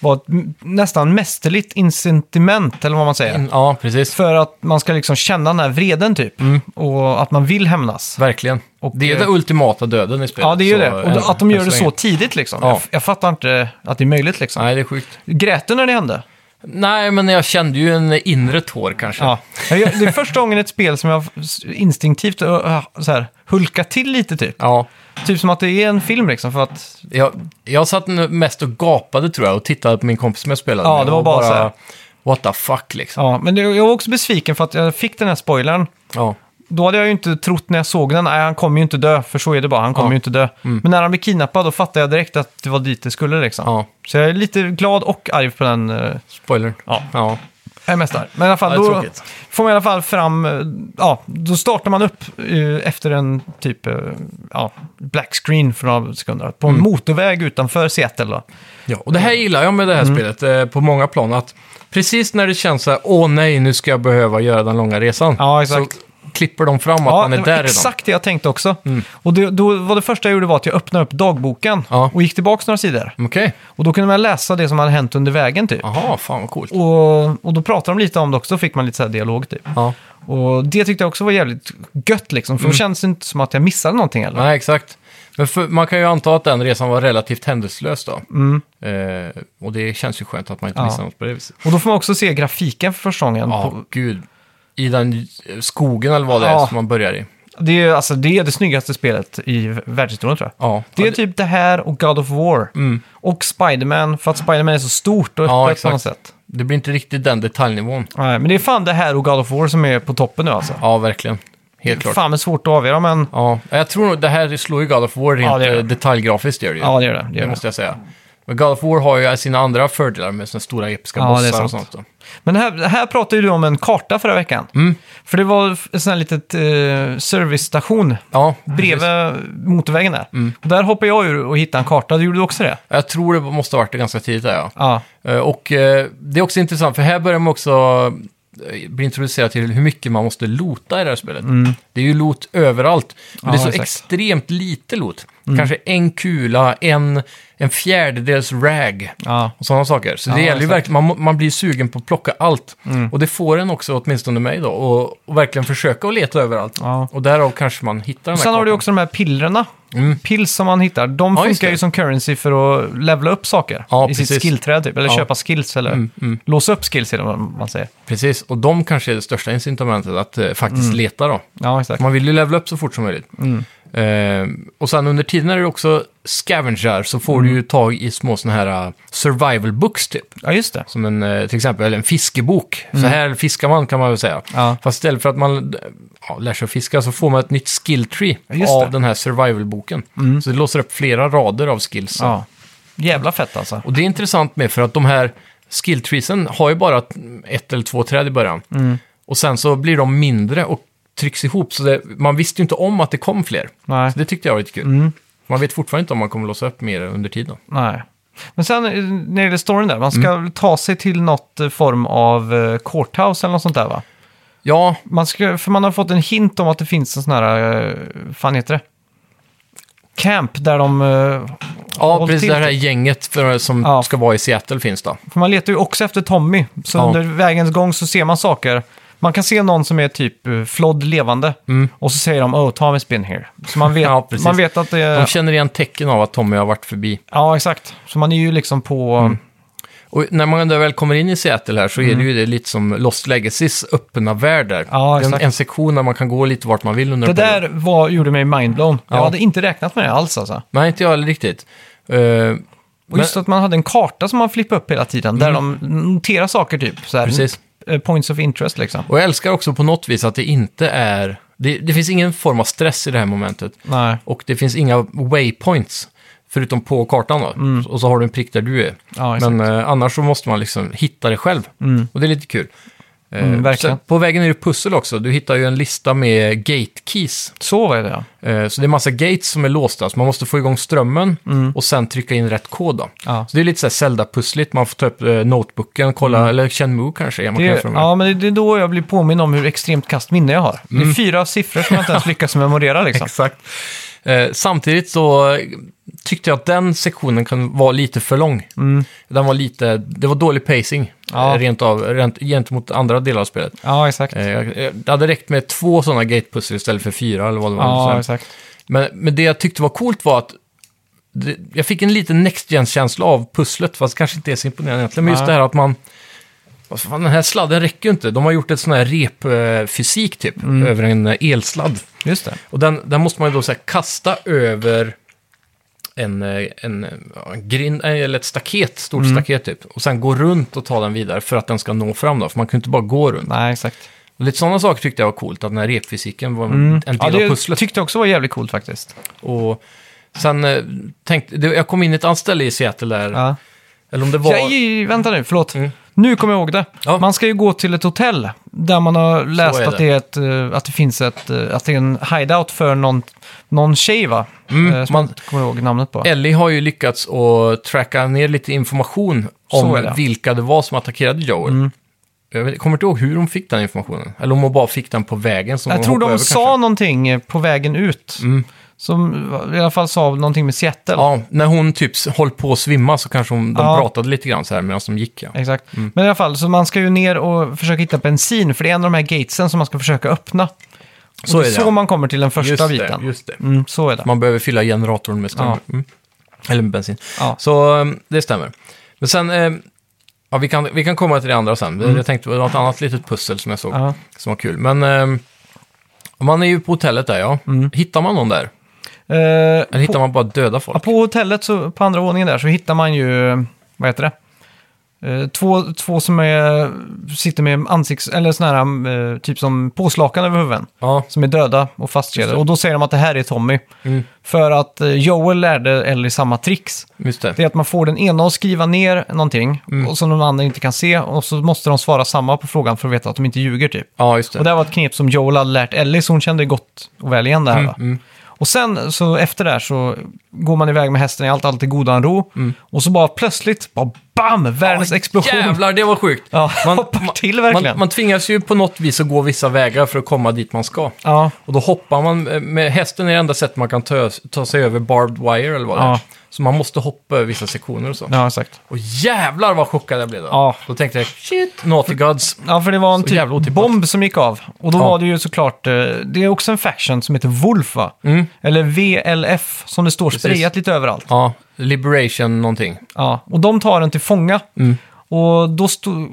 A: var ett m- nästan mästerligt incitament, eller vad man säger.
B: Mm, Ja, precis.
A: För att man ska liksom känna den här vreden typ.
B: Mm.
A: Och att man vill hämnas.
B: Verkligen.
A: Och,
B: det är
A: eh,
B: den ultimata döden i spelet.
A: Ja, det är ju
B: så,
A: det. Och
B: eh,
A: att de gör
B: än
A: det så
B: länge.
A: tidigt liksom.
B: Ja.
A: Jag, jag fattar inte att det är möjligt liksom.
B: Nej, det är sjukt.
A: Grät du när det hände?
B: Nej, men jag kände ju en inre tår kanske.
A: Ja. Jag, det är första gången ett spel som jag instinktivt ö, ö, så här, hulkar till lite typ.
B: Ja,
A: Typ som att det är en film liksom. För att,
B: jag, jag satt nu mest och gapade tror jag och tittade på min kompis som jag spelade
A: Ja,
B: med
A: det var
B: och
A: bara så här.
B: What the fuck liksom.
A: ja. Men det, jag var också besviken för att jag fick den här spoilern.
B: Ja.
A: Då hade jag ju inte trott när jag såg den, nej han kommer ju inte dö, för så är det bara, han kommer
B: Ja. Mm.
A: ju inte dö. Men när han blir kidnappad då fattade jag direkt att det var dit det skulle liksom.
B: Ja.
A: Så jag är lite glad och arg på den, eh,
B: Spoiler.
A: Ja.
B: ja.
A: jag är mest arg. Men i alla fall,
B: Ja, det är
A: då
B: tråkigt.
A: får man i alla fall fram, eh, ja, då startar man upp eh, efter en typ, eh, ja, black screen för några sekunder. På
B: Mm.
A: en motorväg utanför Seattle då.
B: Ja, och det
A: Mm.
B: här gillar jag med det här spelet eh, på många plan. Att precis när det känns så här, åh nej, nu ska jag behöva göra den långa resan.
A: Ja, exakt.
B: Så klipper de fram att
A: Ja,
B: man är
A: det
B: där
A: var
B: redan. Mm.
A: exakt det jag tänkte också. Och det, då var det första jag gjorde var att jag öppnade upp dagboken
B: Ja. Mm.
A: och gick tillbaka några sidor.
B: Okej.
A: Och då kunde man läsa det som hade hänt under vägen typ.
B: Jaha, fan vad coolt.
A: Och, och då pratade de lite om det också, då fick man lite så här dialog typ.
B: Ja.
A: Och det tyckte jag också var jävligt gött liksom, för då känns det inte som att jag missade någonting eller?
B: Mm. Nej, exakt. Men för, man kan ju anta att den resan var relativt händelselös då. Eh, och det känns ju skönt att man inte
A: Mm. Ja.
B: missar något på det viset.
A: Och då får man också se grafiken för första gången.
B: Ja,
A: På,
B: gud. I den eh, skogen eller vad det
A: Ja.
B: är som man börjar i.
A: det, är, ju- alltså, det är det snyggaste spelet i världshistorien tror jag.
B: Ja,
A: Det är
B: ja, Mm.
A: typ det här och God of War. Och Spiderman, för att Spiderman är så stort och
B: Ja,
A: öppet på
B: exakt.
A: något sätt.
B: det blir inte riktigt den detaljnivån.
A: Nej, men det är fan det här och God of War som är på toppen nu alltså.
B: Ja, verkligen. Helt klart.
A: Fan, det är svårt att avgöra, men
B: Ja, jag tror nog det här slår ju God of War rent
A: Ja, det gör det.
B: eh, detaljgrafiskt. Gör det, ju.
A: ja, det gör det. det,
B: det
A: gör det.
B: måste jag säga. Men God of War har ju sina andra fördelar med sina stora episka
A: Ja, det är
B: bossar och
A: sant.
B: sånt. Då.
A: Men här, här pratade ju du om en karta förra veckan.
B: Mm.
A: För det var en sån här litet eh, servicestation
B: Ja, precis. Mm.
A: bredvid motorvägen där. Och där hoppade jag ur och hittade en karta. Gjorde du också det?
B: Jag tror det måste ha varit det ganska tidigt där, ja.
A: Ja.
B: Eh, Och eh, det är också intressant, för här börjar man också eh, bli introducerad till hur mycket man måste lota i det här spelet. Det är ju lot överallt, men
A: Mm. Ja,
B: det är så
A: exakt. Mm.
B: extremt lite lot. Kanske en kula, en, en fjärdedels rag
A: ja.
B: och sådana saker. Så
A: Ja,
B: det gäller ju
A: exakt. Mm.
B: verkligen, man, må- man blir sugen på att plocka allt. Och det får en också, åtminstone mig då, och, och verkligen försöka att leta överallt.
A: Ja.
B: Och därav kanske man hittar den
A: Och sen har du
B: kartan.
A: också de här pillerna. Pills som man hittar. De
B: Mm. Ja, just
A: funkar
B: det.
A: ju som currency för att levla upp saker
B: Ja,
A: i sitt
B: precis.
A: skillträd typ. Eller
B: Ja. Mm,
A: köpa skills eller låsa upp skills är det vad man säger.
B: Precis, och de kanske är det största incitamentet att eh, faktiskt
A: Mm.
B: leta då.
A: Ja, exakt.
B: Man vill ju levla upp så fort som möjligt.
A: Mm.
B: Eh, och sen under tiden är det också scavengar så får du ju
A: Mm.
B: tag i små såna här eh, survival books typ.
A: Ja, just det.
B: Som en, eh, till exempel en fiskebok.
A: Mm.
B: Så här fiskar man kan man väl säga.
A: Ja.
B: Fast istället för att man eh, ja, lär sig att fiska så får man ett nytt skill tree
A: Ja, just
B: av
A: det. Mm.
B: den här survival-boken. Så det låser upp flera rader av skills.
A: Ja. Jävla fett alltså.
B: Och det är intressant med för att de här skill treesen har ju bara ett eller två träd i början.
A: Mm.
B: Och sen så blir de mindre och trycks ihop. Så det, man visste ju inte om att det kom fler.
A: Nej. Mm.
B: Så det tyckte jag var lite kul. Man vet fortfarande inte om man kommer låsa upp mer under tiden.
A: Nej. Men sen eh, när det gäller storyn där, man ska
B: Mm.
A: väl ta sig till något eh, form av eh, courthouse eller något sånt där va?
B: Ja,
A: Man ska, för man har fått en hint om att det finns en sån här, eh, fan heter det? Camp där de... eh,
B: ja
A: håll
B: precis.
A: till
B: Det här
A: typ.
B: gänget för, som
A: Ja.
B: ska vara i Seattle finns då.
A: För man letar ju också efter Tommy, så
B: Ja.
A: under vägens gång så ser man saker. Man kan se någon som är typ eh, flodd levande och så säger de oh, Tommy's been here. Så man vet,
B: Mm. Ja, precis.
A: man vet att det
B: De
A: är...
B: känner igen tecken av att Tommy har varit förbi.
A: Ja, exakt. Så man är ju liksom på...
B: Mm. Och när man väl kommer in i Seattle här så är det ju det lite som Lost Legacies öppna värld där.
A: Mm. Ja,
B: det är en,
A: exakt.
B: en sektion där man kan gå lite vart man vill under
A: Det
B: en period.
A: där var, gjorde mig mindblown. Jag
B: Ja.
A: hade inte räknat med det alls alltså.
B: Nej, inte jag heller riktigt. Eh,
A: Och just att man hade en karta som man flippade upp hela tiden, där de noterar saker typ. Så här,
B: Mm. Precis.
A: eh, Points of interest liksom.
B: Och jag älskar också på något vis att det inte är... Det, det finns ingen form av stress i det här momentet.
A: Nej.
B: Och det finns inga waypoints. Förutom på kartan då. Och så har du en prick där du är.
A: Mm. Ja, exakt.
B: Men eh, annars så måste man liksom hitta det själv. Och det är lite kul. Eh,
A: Mm, verkligen.
B: sen på vägen är det pussel också. Du hittar ju en lista med gate keys.
A: Så var det ja.
B: Eh, Så det är massa gates som är låsta, så man måste få igång strömmen och sen trycka in rätt kod. Då.
A: Mm. Ja.
B: Så det är lite så här Zelda-pussligt, man får ta upp eh, notebooken, kolla, eller Chenmu kanske är man kan
A: Mm. Det,
B: jämföra med.
A: ja, men det, det är då jag blir påminn om hur extremt kasst minne jag har. Det
B: Mm.
A: är fyra siffror som jag inte ens lyckas memorera liksom.
B: Exakt. Eh, Samtidigt så eh, tyckte jag att den sektionen kan vara lite för lång. Den var lite, det var dålig pacing
A: Mm. Ja.
B: eh, rent av, rent, gentemot andra delar av spelet.
A: Ja, exakt.
B: Eh, jag- eh, Det hade räckt med två sådana gatepussel istället för fyra eller vad det var. Så
A: Ja,
B: här.
A: exakt.
B: Men, men det jag tyckte var coolt var att det, jag fick en liten next gen-känsla av pusslet, fast det kanske inte är så imponerande egentligen. Men just
A: Nej.
B: det här att man... vad fan, den här sladden räcker ju inte. De har gjort ett sån här repfysik typ,
A: Mm.
B: över en eh, elsladd.
A: Just det.
B: Och den, den måste man ju då så här, kasta över en, eh, en, eh, ja, en grind, eh, eller ett staket, stort
A: Mm.
B: staket typ. Och sen gå runt och ta den vidare för att den ska nå fram då, för man kan ju inte bara gå runt.
A: Nej, exakt.
B: Och lite sådana saker tyckte jag var coolt, att den här repfysiken var en- en
A: Mm. Ja,
B: del av
A: det
B: pusslet.
A: tyckte jag också var jävligt coolt faktiskt.
B: Och sen eh, tänkte, det, jag kom in i ett annat ställe i Seattle där,
A: Ja.
B: eller om det var...
A: Jag, i- vänta nu, förlåt.
B: Mm.
A: Nu kommer jag ihåg det.
B: Ja.
A: Man ska ju gå till ett hotell där man har läst
B: är
A: att det, är ett, eh, att det finns ett, eh, att det är en hideout för någon, någon tjej va?
B: Mm,
A: Eh, Som man
B: man-
A: inte kommer ihåg namnet på.
B: Ellie har ju lyckats att tracka ner lite information
A: Så är
B: om
A: det. Mm.
B: vilka det var som attackerade Joel. Jag vet- kommer inte ihåg hur hon fick den informationen. Eller om hon bara fick den på vägen som
A: Jag
B: hon
A: tror de
B: hoppade över,
A: sa
B: kanske.
A: någonting eh, på vägen ut. Som eh, i alla fall sa någonting med Seattle.
B: Ja, när hon typ s- höll på att svimma så kanske hon, de
A: Ja.
B: pratade lite grann så här medan de gick. Ja.
A: Exakt. Men i alla fall, så man ska ju ner och försöka hitta bensin, för det är en av de här gatesen som man ska försöka öppna.
B: Så
A: och det är,
B: är det,
A: så
B: ja.
A: man kommer till den första
B: just
A: biten.
B: Det, just det.
A: Mm, så är det.
B: Man behöver fylla generatorn med ström.
A: Ja.
B: Mm. Eller med bensin.
A: Ja.
B: Så eh, det stämmer. Men sen, eh, ja, vi, kan, vi kan komma till det andra sen. Jag tänkte på något annat litet pussel som jag såg
A: Mm. Ja.
B: som var kul. Men eh, man är ju på hotellet där ja.
A: Mm.
B: Hittar man någon där?
A: Eh,
B: Eller hittar
A: på,
B: man bara döda
A: ja,
B: folk?
A: på hotellet, så, på andra våningen där, så hittar man ju, eh, vad heter det? Eh, Två, två som är, sitter med ansikts... Eller såna här, eh, typ som påslakan över huvuden.
B: Ja,
A: Som är döda och
B: Just
A: fastkedjade.
B: det. Mm.
A: Och då säger de att det här är Tommy. För att eh, Joel lärde Ellie samma tricks.
B: just det.
A: Det är att man får den ena att skriva ner någonting
B: Mm.
A: och som de andra inte kan se. Och så måste de svara samma på frågan för att veta att de inte ljuger typ.
B: Ja, just det.
A: Och det här var ett knep som Joel hade lärt Ellie, så hon kände gott och väl igen det
B: Mm,
A: här. va? Och sen så efter det här så går man iväg med hästen i allt, allt i godan ro.
B: Mm.
A: Och så bara plötsligt, bara BAM! Världens explosion.
B: Jävlar, det var sjukt.
A: Ja, hoppar till verkligen.
B: Man, man tvingas ju på något vis att gå vissa vägar för att komma dit man ska.
A: Ja,
B: Och då hoppar man, eh, med hästen är det enda sätt man kan ta, ta sig över barbed wire eller vad det
A: Ja.
B: är. Så man måste hoppa över vissa sektioner och så.
A: ja, exakt.
B: Och jävlar vad chockad jag blev då.
A: Ja.
B: Då tänkte jag, shit, Naughty Gods.
A: Ja, för det var en
B: Så jävla
A: typ
B: otippat.
A: bomb som gick av. Och då
B: Ja.
A: var det ju såklart, eh, det är också en faction som heter Wolf va?
B: Mm.
A: Eller VLF som det står sprayat lite överallt.
B: Ja, Liberation någonting.
A: Ja, och de tar den till fånga.
B: Mm.
A: Och då stod...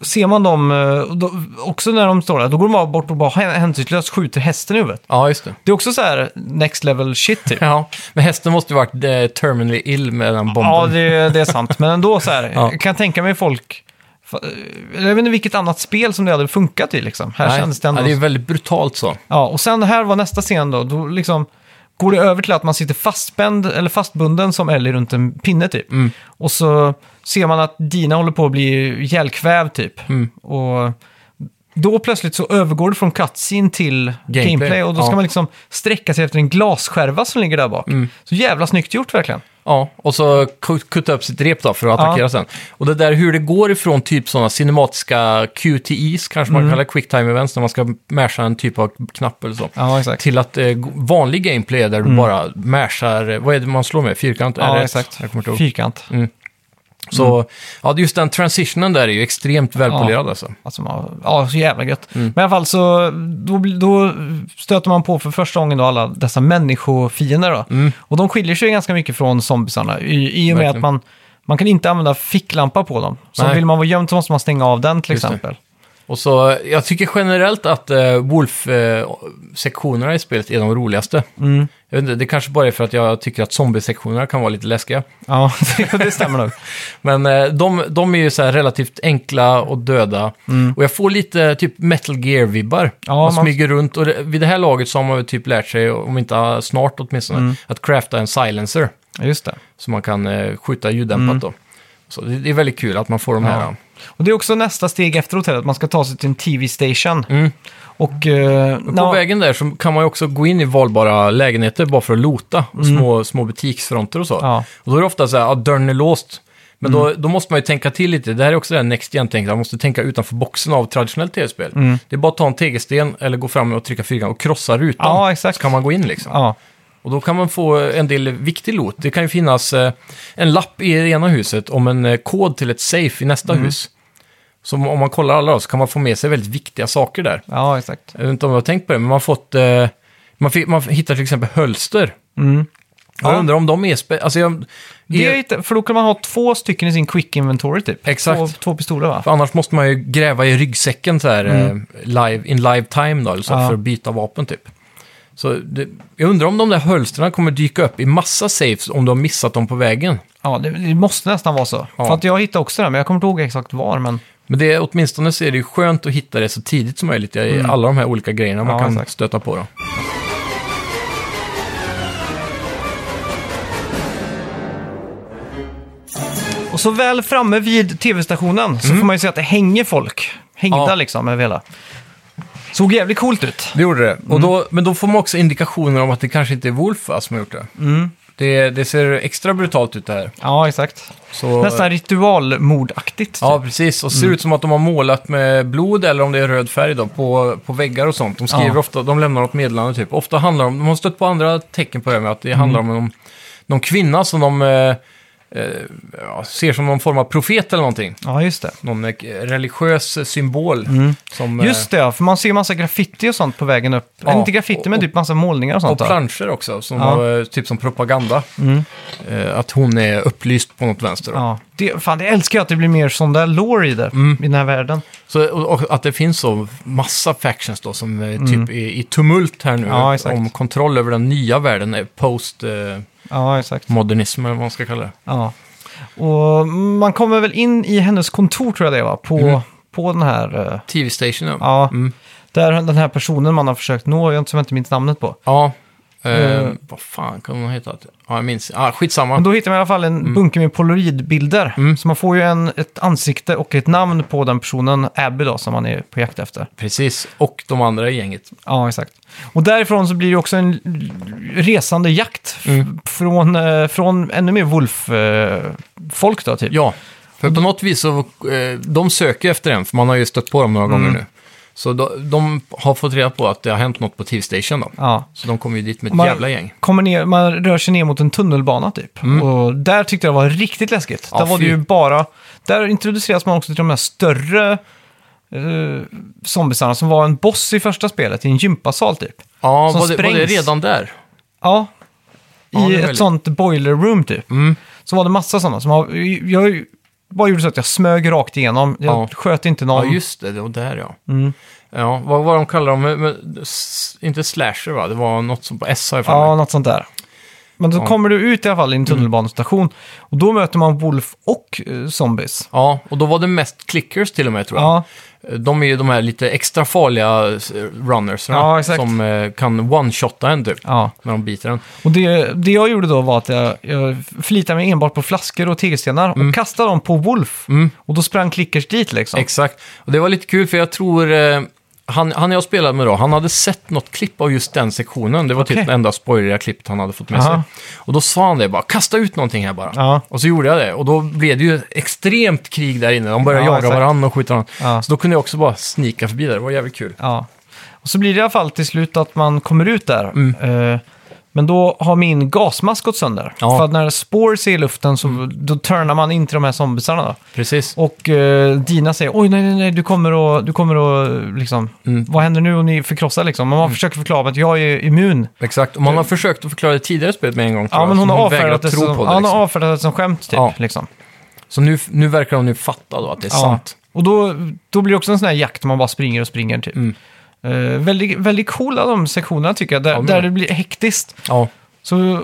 A: Ser man dem, eh, och då, också när de står där, då går de bara bort och bara hän- hänsynslöst skjuter hästen i huvudet.
B: Ja, just det.
A: Det är också så här next level shit typ.
B: Ja, men hästen måste ju varit eh, terminally ill med den bomben.
A: ja, det, det är sant. Men ändå så här,
B: Ja.
A: jag kan tänka mig folk... fa- Jag vet inte vilket annat spel som det hade funkat i liksom. Här
B: Nej.
A: kändes det ändå...
B: ja, det är väldigt brutalt så.
A: Ja, och sen här var nästa scen då. Då liksom går det över till att man sitter fastspänd eller fastbunden som Ellie runt en pinne typ.
B: Mm.
A: Och så ser man att Dina håller på att bli ihjälkvävd typ.
B: Mm.
A: Och då plötsligt så övergår det från cutscene till gameplay,
B: Gameplay,
A: och då ska
B: ja. Mm.
A: man liksom sträcka sig efter en glasskärva som ligger där bak. Så jävla snyggt gjort verkligen.
B: Ja, och så ku- kutta upp sitt rep då för att
A: Ja.
B: attackera sen. Och det där hur det går ifrån typ sådana cinematiska QTEs, kanske
A: Mm.
B: man kallar quick time events, när man ska masha en typ av knapp eller så.
A: Ja, exakt. Mm.
B: Till att eh, vanlig gameplay är där du bara mashar, eh, vad är det man slår med? Fyrkant?
A: Ja,
B: är det?
A: exakt.
B: Jag kommer inte ihåg.
A: Fyrkant.
B: Så
A: Mm.
B: ja, just den transitionen där är ju extremt välpolerad alltså.
A: Alltså, man- ja, så jävla gött.
B: Mm.
A: Men i alla fall så då, bli- då stöter man på för första gången då alla dessa människofiender. Då. Och de skiljer sig ganska mycket från zombisarna i, i och med
B: Mm. Verkligen.
A: att man, man kan inte använda ficklampa på dem. Så
B: Nej.
A: vill man vara gömd så måste man stänga av den till
B: Just det.
A: exempel.
B: Och så, eh, jag tycker generellt att eh, Wolf-sektionerna i spelet är de roligaste.
A: Mm.
B: Jag vet inte, det kanske bara är för att jag tycker att zombie-sektionerna kan vara lite läskiga.
A: Ja, det stämmer nog.
B: Men eh, de, de är ju så här relativt enkla och döda. Och jag får lite typ metal gear-vibbar.
A: Mm. Ja,
B: man,
A: man-
B: smyger runt
A: Mm.
B: och det, vid det här laget så har man väl typ lärt sig, om inte snart åtminstone, att crafta en silencer.
A: Ja, Just det.
B: Så man kan eh, skjuta ljuddämpat då. Så det, det är väldigt kul att man får de här.
A: Mm. Ja. Och det är också nästa steg efter hotellet, man ska ta sig till en TV-station.
B: Mm.
A: Och... eh,
B: På
A: när-
B: vägen där så kan man ju också gå in i valbara lägenheter bara för att lota. och Små, små butiksfronter och så.
A: Mm. Ja. Mm.
B: Och då är det ofta så här, ja, dörren är låst. Men då, då måste man ju tänka till lite. Det här är också det här Next Gen-tänket. Man måste tänka utanför boxen av traditionellt tv-spel.
A: Mm.
B: Det är bara att ta en tegelsten eller gå fram och trycka fyrkant och krossa rutan.
A: Ja, exakt.
B: Så kan man gå in liksom.
A: Ja.
B: Och då kan man få en del viktig loot. Det kan ju finnas eh, en lapp i det ena huset om en eh, kod till ett safe i nästa
A: Mm.
B: hus. Så om om man kollar alla då, så kan man få med sig väldigt viktiga saker där.
A: ja, exakt.
B: Jag vet inte om jag har tänkt på det, men man har fått... Eh, man, fick, man hittar till exempel hölster.
A: Mm.
B: Jag
A: Ja.
B: undrar om de är... Spe- alltså jag,
A: Det är,
B: är,
A: lite- för då kan man ha två stycken i sin quick inventory typ.
B: Exakt.
A: Två, två pistoler va?
B: för annars måste man ju gräva i ryggsäcken så här, eh, live, in live time då, eller så,
A: Mm. Ja.
B: för att byta vapen typ. Så det, jag undrar om de där hölsterna kommer dyka upp i massa safes om du har missat dem på vägen.
A: Ja, det, det måste nästan vara så.
B: Ja.
A: För att jag hittade också det, här, men jag kommer inte ihåg exakt var. Men
B: Men det, är- åtminstone så är det ju skönt att hitta det så tidigt som möjligt i alla de här olika grejerna man
A: Mm. Ja,
B: kan
A: exakt.
B: stöta på. Då.
A: Och så väl framme vid tv-stationen så får man ju se att det hänger folk. Hängda
B: Mm. Ja.
A: liksom över hela. Såg jävligt coolt ut.
B: Det gjorde det.
A: Mm.
B: Och då, men då får man också indikationer om att det kanske inte är Wolf va, som har gjort det.
A: Mm.
B: det. Det ser extra brutalt ut det här.
A: Ja, exakt.
B: Så,
A: Nästan Mm. ritualmordaktigt. typ.
B: Ja, precis. Och ser ut som att de har målat med blod eller om det är röd färg då, på, på väggar och sånt. De skriver
A: Ja.
B: ofta, de lämnar något meddelande typ. Ofta handlar det om, de har stött på andra tecken på det med att det handlar
A: Mm.
B: om någon, någon kvinna som de eh, eh, ja, ser som någon form av profet eller någonting.
A: ja just det.
B: Någon eh, religiös symbol. Som, eh,
A: Mm. Just det, ja, för man ser massa graffiti och sånt på vägen upp.
B: Ja,
A: Inte graffiti, men
B: och-
A: typ massa målningar och
B: Och
A: sånt. va?
B: planscher också, som
A: Ja. Mm.
B: var, typ som propaganda. Eh, att hon är upplyst på något vänster. Då.
A: Ja, det, fan, det älskar jag att det blir mer sån där lore i det,
B: Mm.
A: i den här världen.
B: Så, och, och att det finns så massa factions då som eh, typ är i tumult här nu.
A: Mm. Ja, exakt.
B: om kontroll över den nya världen, eh, post-modernism
A: Ja, exakt.
B: eller vad man ska kalla det.
A: Ja. Och man kommer väl in i hennes kontor, tror jag det var, på,
B: Mm.
A: på den här... eh,
B: TV Station, ja.
A: Ja, där den här personen man har försökt nå, jag som jag inte minns namnet på.
B: ja. Eh,
A: Eh.
B: Vad fan kan hon ha hetat? Ja, jag minns. Ah, skitsamma.
A: Men då hittar man i alla fall en
B: Mm.
A: bunke med polaroidbilder. Så man får ju en, ett ansikte och ett namn på den personen, Abby då, som man är på jakt efter.
B: Precis. Och de andra i gänget.
A: Ja, exakt. Och därifrån så blir det också en resande jakt. f-
B: Mm.
A: Från, eh, från ännu mer Wolf-folk då, typ.
B: Ja, för på något vis så, eh, de söker efter den, för man har ju stött på dem några
A: Mm.
B: gånger nu. Så de, de har fått reda på att det har hänt något på TV Station då.
A: Ja.
B: Så de kommer ju dit med ett
A: Man-
B: jävla gäng. Mm.
A: Kommer ner, man rör sig ner mot en tunnelbana typ. Och där tyckte jag det var riktigt läskigt.
B: Ja,
A: där var det
B: fy.
A: ju bara... Där introduceras man också till de här större uh, zombiesarna som var en boss i första spelet i en gympasal typ.
B: Ja,
A: Som
B: var det, var det
A: sprängs.
B: redan där?
A: Ja. I
B: Ja, det är
A: ett
B: möjligt.
A: sånt boiler room typ.
B: Mm.
A: Så var det massa sådana. Som har, jag bara gjorde så att jag smög rakt igenom. Jag
B: Ja.
A: sköt inte
B: Ja,
A: någon.
B: just det, det var där ja.
A: Mm.
B: Ja, vad var de kallade dem? Men- men s- Inte slasher va? Det var något som på S har jag för
A: Ja,
B: mig.
A: något sånt där. Men då
B: Ja. Mm.
A: kommer du ut i alla fall i en tunnelbanestation. Och då möter man Wolf och eh, zombies.
B: Ja, och då var det mest clickers till och med tror jag.
A: Ja,
B: De är ju de här lite extra farliga eh, runners
A: Ja, exakt.
B: som eh, kan one-shotta en typ,
A: ja.
B: när de biter en.
A: Och det, det jag gjorde då var att jag, jag förlitade mig enbart på flaskor och tegelstenar
B: Mm.
A: och kastade dem på Wolf. Och då sprang Clickers dit liksom.
B: Exakt. Och det var lite kul för jag tror... Eh, han, han jag spelade med då, han hade sett något klipp av just den sektionen. Det var
A: Okej.
B: typ det enda spoileriga klippet han hade fått med
A: Aha.
B: sig. Och då sa han det bara, kasta ut någonting här bara.
A: Ja.
B: Och så gjorde jag det. Och då blev det ju extremt krig där inne. De började
A: Ja,
B: jaga
A: exakt.
B: varandra och skjuta varandra.
A: Ja.
B: Så då kunde jag också bara snika förbi där. Det var jävligt kul.
A: ja. Och så blir det i alla fall till slut att man kommer ut där.
B: Mm.
A: Eh, men då har min gasmask gått sönder.
B: Ja. Mm.
A: För att när spår är i luften så då turnar man in till de här zombisarna. Då.
B: Precis.
A: Och eh, Dina säger oj nej nej nej du kommer och, du kommer och liksom,
B: Mm.
A: vad händer nu om ni förkrossar liksom? Men man försöker förklara att jag är immun.
B: Exakt. Och man har försökt att förklara det tidigare spelet med en gång. tror
A: Ja
B: jag,
A: men
B: så
A: hon har
B: vägrar
A: avfärdat det,
B: tro
A: som,
B: på
A: ja,
B: det.
A: hon
B: Liksom.
A: har avfärdat det som skämt typ.
B: Ja.
A: Liksom.
B: Så nu, nu verkar de nu fatta då att det är sant.
A: Och då, då blir det också en sån här jakt man bara springer och springer typ.
B: Mm.
A: Eh, väldigt, väldigt coola de sektionerna tycker jag, där,
B: Ja, men-
A: där det blir hektiskt.
B: Ja.
A: Så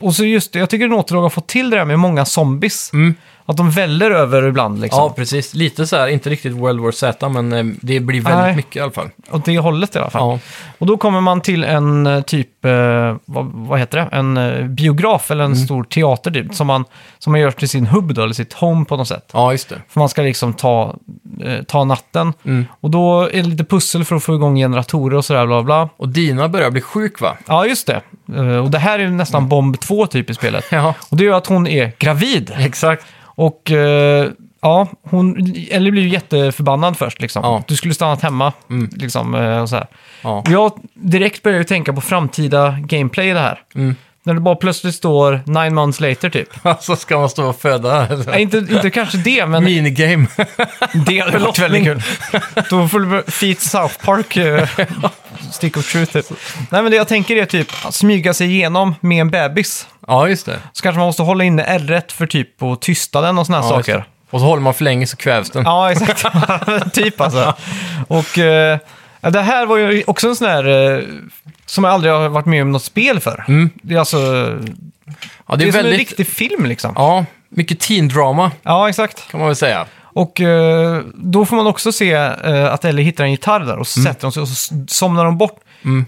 A: Och så just det, jag tycker Naughty Dog har fått till det där med många zombies.
B: Mm.
A: Att de väller över ibland liksom.
B: Ja, precis. Lite så här, inte riktigt World War Z, men eh, det blir väldigt
A: Nej.
B: mycket i alla fall.
A: Åt det hållet i alla fall.
B: Ja.
A: Och då kommer man till en eh, typ, eh, vad, vad heter det, en eh, biograf eller en
B: Mm.
A: stor teater typ, som man, som man gör till sin hubb då, eller sitt home på något sätt.
B: ja, just det.
A: För man ska liksom ta, eh, ta natten.
B: Mm.
A: Och då är det lite pussel för att få igång generatorer och sådär bla bla.
B: Och Dina börjar bli sjuk, va?
A: Ja, just det. Eh, och det här är ju nästan Bomb 2 typ i spelet.
B: Ja,
A: Och det gör att hon är gravid.
B: exakt.
A: Och eh, ja, hon Ellie blir ju jätteförbannad först liksom.
B: Ja.
A: Du skulle stannat hemma liksom eh, och så här.
B: Ja.
A: Jag direkt börjar ju tänka på framtida gameplay i det här. När det bara plötsligt står nine months later typ.
B: Så ska man stå och föda.
A: Nej, inte, inte kanske det, men
B: Minigame.
A: det hade varit väldigt kul. Då får du Feet South Park, eh, Stick of Truth typ. Nej men det jag tänker är typ att smyga sig igenom med en bebis.
B: ja, just det.
A: Så kanske man måste hålla inne R1 för typ att tysta den och såna här
B: Ja, just
A: saker.
B: det. Och så håller man för länge så kvävs den.
A: Ja, exakt. typ alltså. Och eh, det här var ju också en sån här eh, som jag aldrig har varit med om något spel för. Det är alltså
B: Ja,
A: det är, som en
B: Mm. väldigt...
A: riktig film liksom. Ja,
B: Ja, mycket teen-drama
A: exakt.
B: kan man väl säga.
A: Och eh, då får man också se eh, att Ellie hittar en gitarr där och så sätter hon sig och så s- somnar hon bort.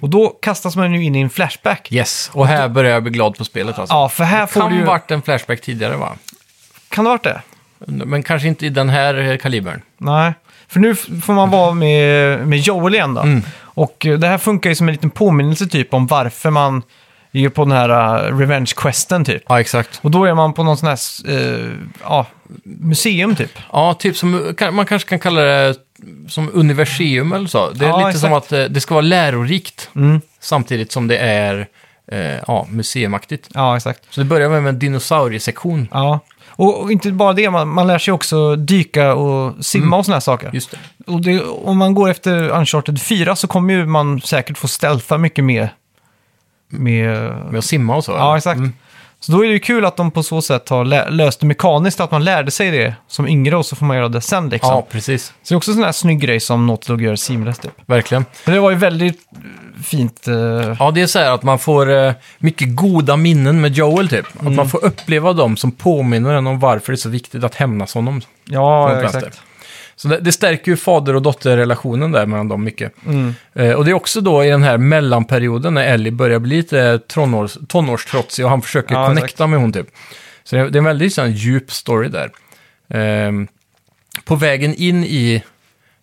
A: Och då kastas man ju in i en flashback.
B: Yes, och här börjar jag bli glad på spelet alltså.
A: Ja, för här får
B: kan
A: du ju...
B: varit en flashback tidigare va?
A: Kan det ha varit det?
B: Men kanske inte i den här eh, kalibern.
A: Nej, för nu f- får man vara med, med Joel igen då. Och eh, det här funkar ju som en liten påminnelse typ om varför man är på den här eh, revenge questen typ.
B: Ja, exakt.
A: Och då är man på någon sån här, s- eh, ja, museum typ.
B: Ja, typ som, kan- man kanske kan kalla det som universium eller så. Det är
A: Ja,
B: lite
A: exakt. Mm.
B: som att eh, det ska vara lärorikt samtidigt som det är eh, ja, museumaktigt.
A: Ja, exakt.
B: Så det börjar med en dinosauriesektion.
A: Ja. Och, och inte bara det, man, man lär sig också dyka och simma och såna här saker.
B: Just det.
A: Och det, om man går efter Uncharted 4 så kommer ju man säkert få stealtha mycket mer. Med,
B: Med att simma och så.
A: Ja,
B: eller?
A: exakt. Så då är det ju kul att de på så sätt har lä- löst det mekaniskt, att man lärde sig det som yngre och så får man göra det sen liksom.
B: Ja, precis.
A: Så det är också en sån här snygg grej som Naughty Dog gör seamless typ.
B: Verkligen.
A: Men det var ju väldigt eh, fint. eh,
B: Ja, det är så här att man får eh, mycket goda minnen med Joel typ. Att
A: Mm.
B: man får uppleva dem som påminner en om varför det är så viktigt att hämnas honom.
A: ja,
B: från
A: ja,
B: Plaster.
A: exakt.
B: Så det, det stärker ju fader och dotterrelationen där mellan dem mycket.
A: Mm.
B: Eh, och det är också då i den här mellanperioden när Ellie börjar bli lite tonårs, tonårstrotsig och han försöker
A: Ja,
B: connecta
A: exakt.
B: med hon typ. Så det, det är en väldigt sån, djup story där. Ehm, på vägen in i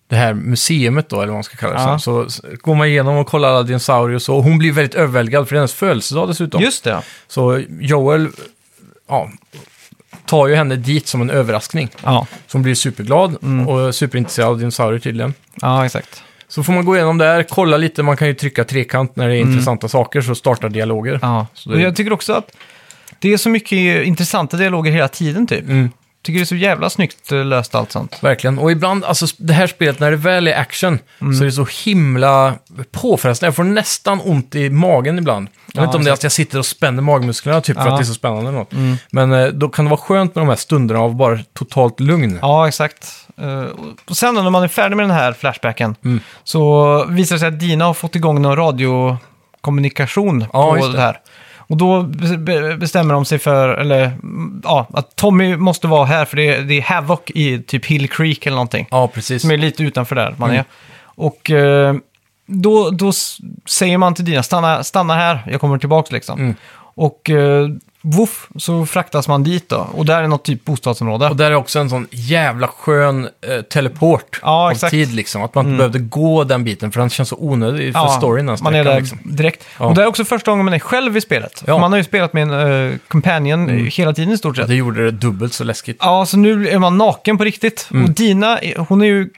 B: det här museumet då, eller vad man ska kalla det,
A: Ja.
B: så, så går man igenom och kollar alla dinosaurier och så. Och hon blir väldigt överväldigad för det är hennes födelsedag dessutom.
A: Just det, ja.
B: Så Joel, ja, tar ju henne dit som en överraskning.
A: ja.
B: Som blir superglad
A: Mm.
B: och superintresserad av dinosaurier tydligen.
A: Ja, exakt.
B: Så får man gå igenom där, kolla lite, man kan ju trycka trekant när det är intressanta saker så startar dialoger.
A: Mm. Ja.
B: Så det-
A: Och jag tycker också att det är så mycket intressanta dialoger hela tiden typ.
B: Mm.
A: Tycker det är så jävla snyggt eh, löst allt sånt.
B: Verkligen. Och ibland, alltså det här spelet när det väl är action
A: Mm.
B: så är det så himla påfrestande. Jag får nästan ont i magen ibland. Jag
A: Ja,
B: vet inte om det är att jag sitter och spänner magmusklerna typ
A: Ja.
B: för
A: Mm.
B: att det är så spännande eller något. Men eh, då kan det vara skönt med de här stunderna av bara totalt lugn.
A: Ja, exakt. Eh, och sen då, när man är färdig med den här Flashbacken
B: Mm.
A: så visar det sig att Dina har fått igång någon radiokommunikation
B: Ja,
A: på
B: just
A: det.
B: det.
A: här. Och då be- be- bestämmer de sig för, eller mm, ja, att Tommy måste vara här för det är, det är Havoc i typ Hill Creek eller någonting.
B: Ja, precis.
A: Som är lite utanför där man
B: Mm.
A: är. Och eh, då, då s- säger man till Dina, stanna, stanna här, jag kommer tillbaka liksom.
B: Mm.
A: Och eh, voff, så fraktas man dit då. Och där är något typ bostadsområde.
B: Och där är också en sån jävla skön eh, teleport
A: Ja,
B: av
A: exakt. Mm.
B: tid liksom. Att man inte behövde gå den biten för den känns så onödig för storyn den
A: man är
B: sträckan,
A: där
B: liksom.
A: direkt.
B: Ja.
A: Och det är också första gången man är själv i spelet.
B: Ja. Mm.
A: Man har ju spelat med en eh, companion hela tiden i stort
B: Ja,
A: sett.
B: Det gjorde det Mm. dubbelt så läskigt.
A: Ja, så nu är man naken på riktigt. Och Dina, är- hon är ju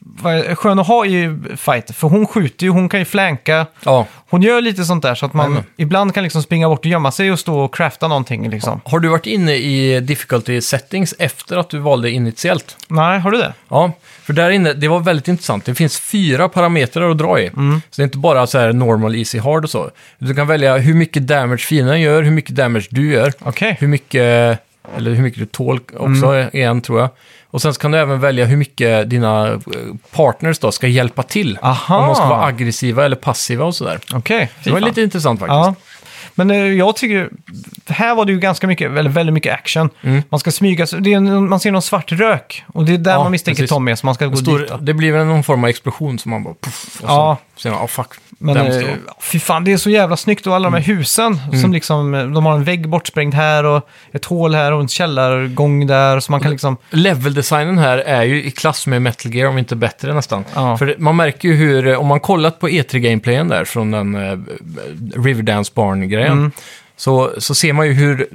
A: vad- skön att ha i fight, för hon skjuter ju, hon kan ju flanka.
B: Ja.
A: Hon gör lite sånt där så att man
B: Jajamän.
A: ibland kan liksom springa bort och gömma sig och stå och crafta någonting liksom.
B: Har du varit inne i difficulty settings efter att du valde initiellt?
A: Nej, har du det?
B: Ja, för där inne, det var väldigt intressant. Det finns fyra parametrar att dra i.
A: Mm.
B: Så det är inte bara så här normal, easy, hard och så. Du kan välja hur mycket damage fienden gör, hur mycket damage du gör,
A: Okej. Mm.
B: hur mycket, eller hur mycket du tål också är en tror jag. Och sen så kan du även välja hur mycket dina eh, partners då ska hjälpa till.
A: Aha.
B: Om de ska vara aggressiva eller passiva och sådär.
A: Okej.
B: Det var
A: Fy fan.
B: lite intressant faktiskt.
A: Ja. Men eh, jag tycker, här var det ju ganska mycket, eller väldigt mycket action. Man ska smyga sig, det är en, man ser någon svart rök. Och det är där
B: Mm. Ja,
A: man misstänker
B: precis.
A: Tommy, så man ska gå
B: Stor,
A: dit. Då.
B: det blir väl någon form av explosion som man bara... Puff, och
A: Ja.
B: så, sen, oh, fuck.
A: Men
B: där måste
A: eh,
B: jag-
A: fy fan, det är så jävla snyggt och alla de
B: Mm.
A: här husen som liksom, eh, de har en vägg bortsprängd här och ett hål här och en källargång där. Så man
B: Mm.
A: kan liksom,
B: Leveldesignen här är ju i klass med Metal Gear, om inte bättre nästan.
A: Ja.
B: För det- man märker ju hur, eh, om man kollat på E3-gameplayen där från den eh, Riverdance Barn-grejen,
A: Mm.
B: så, så ser man ju hur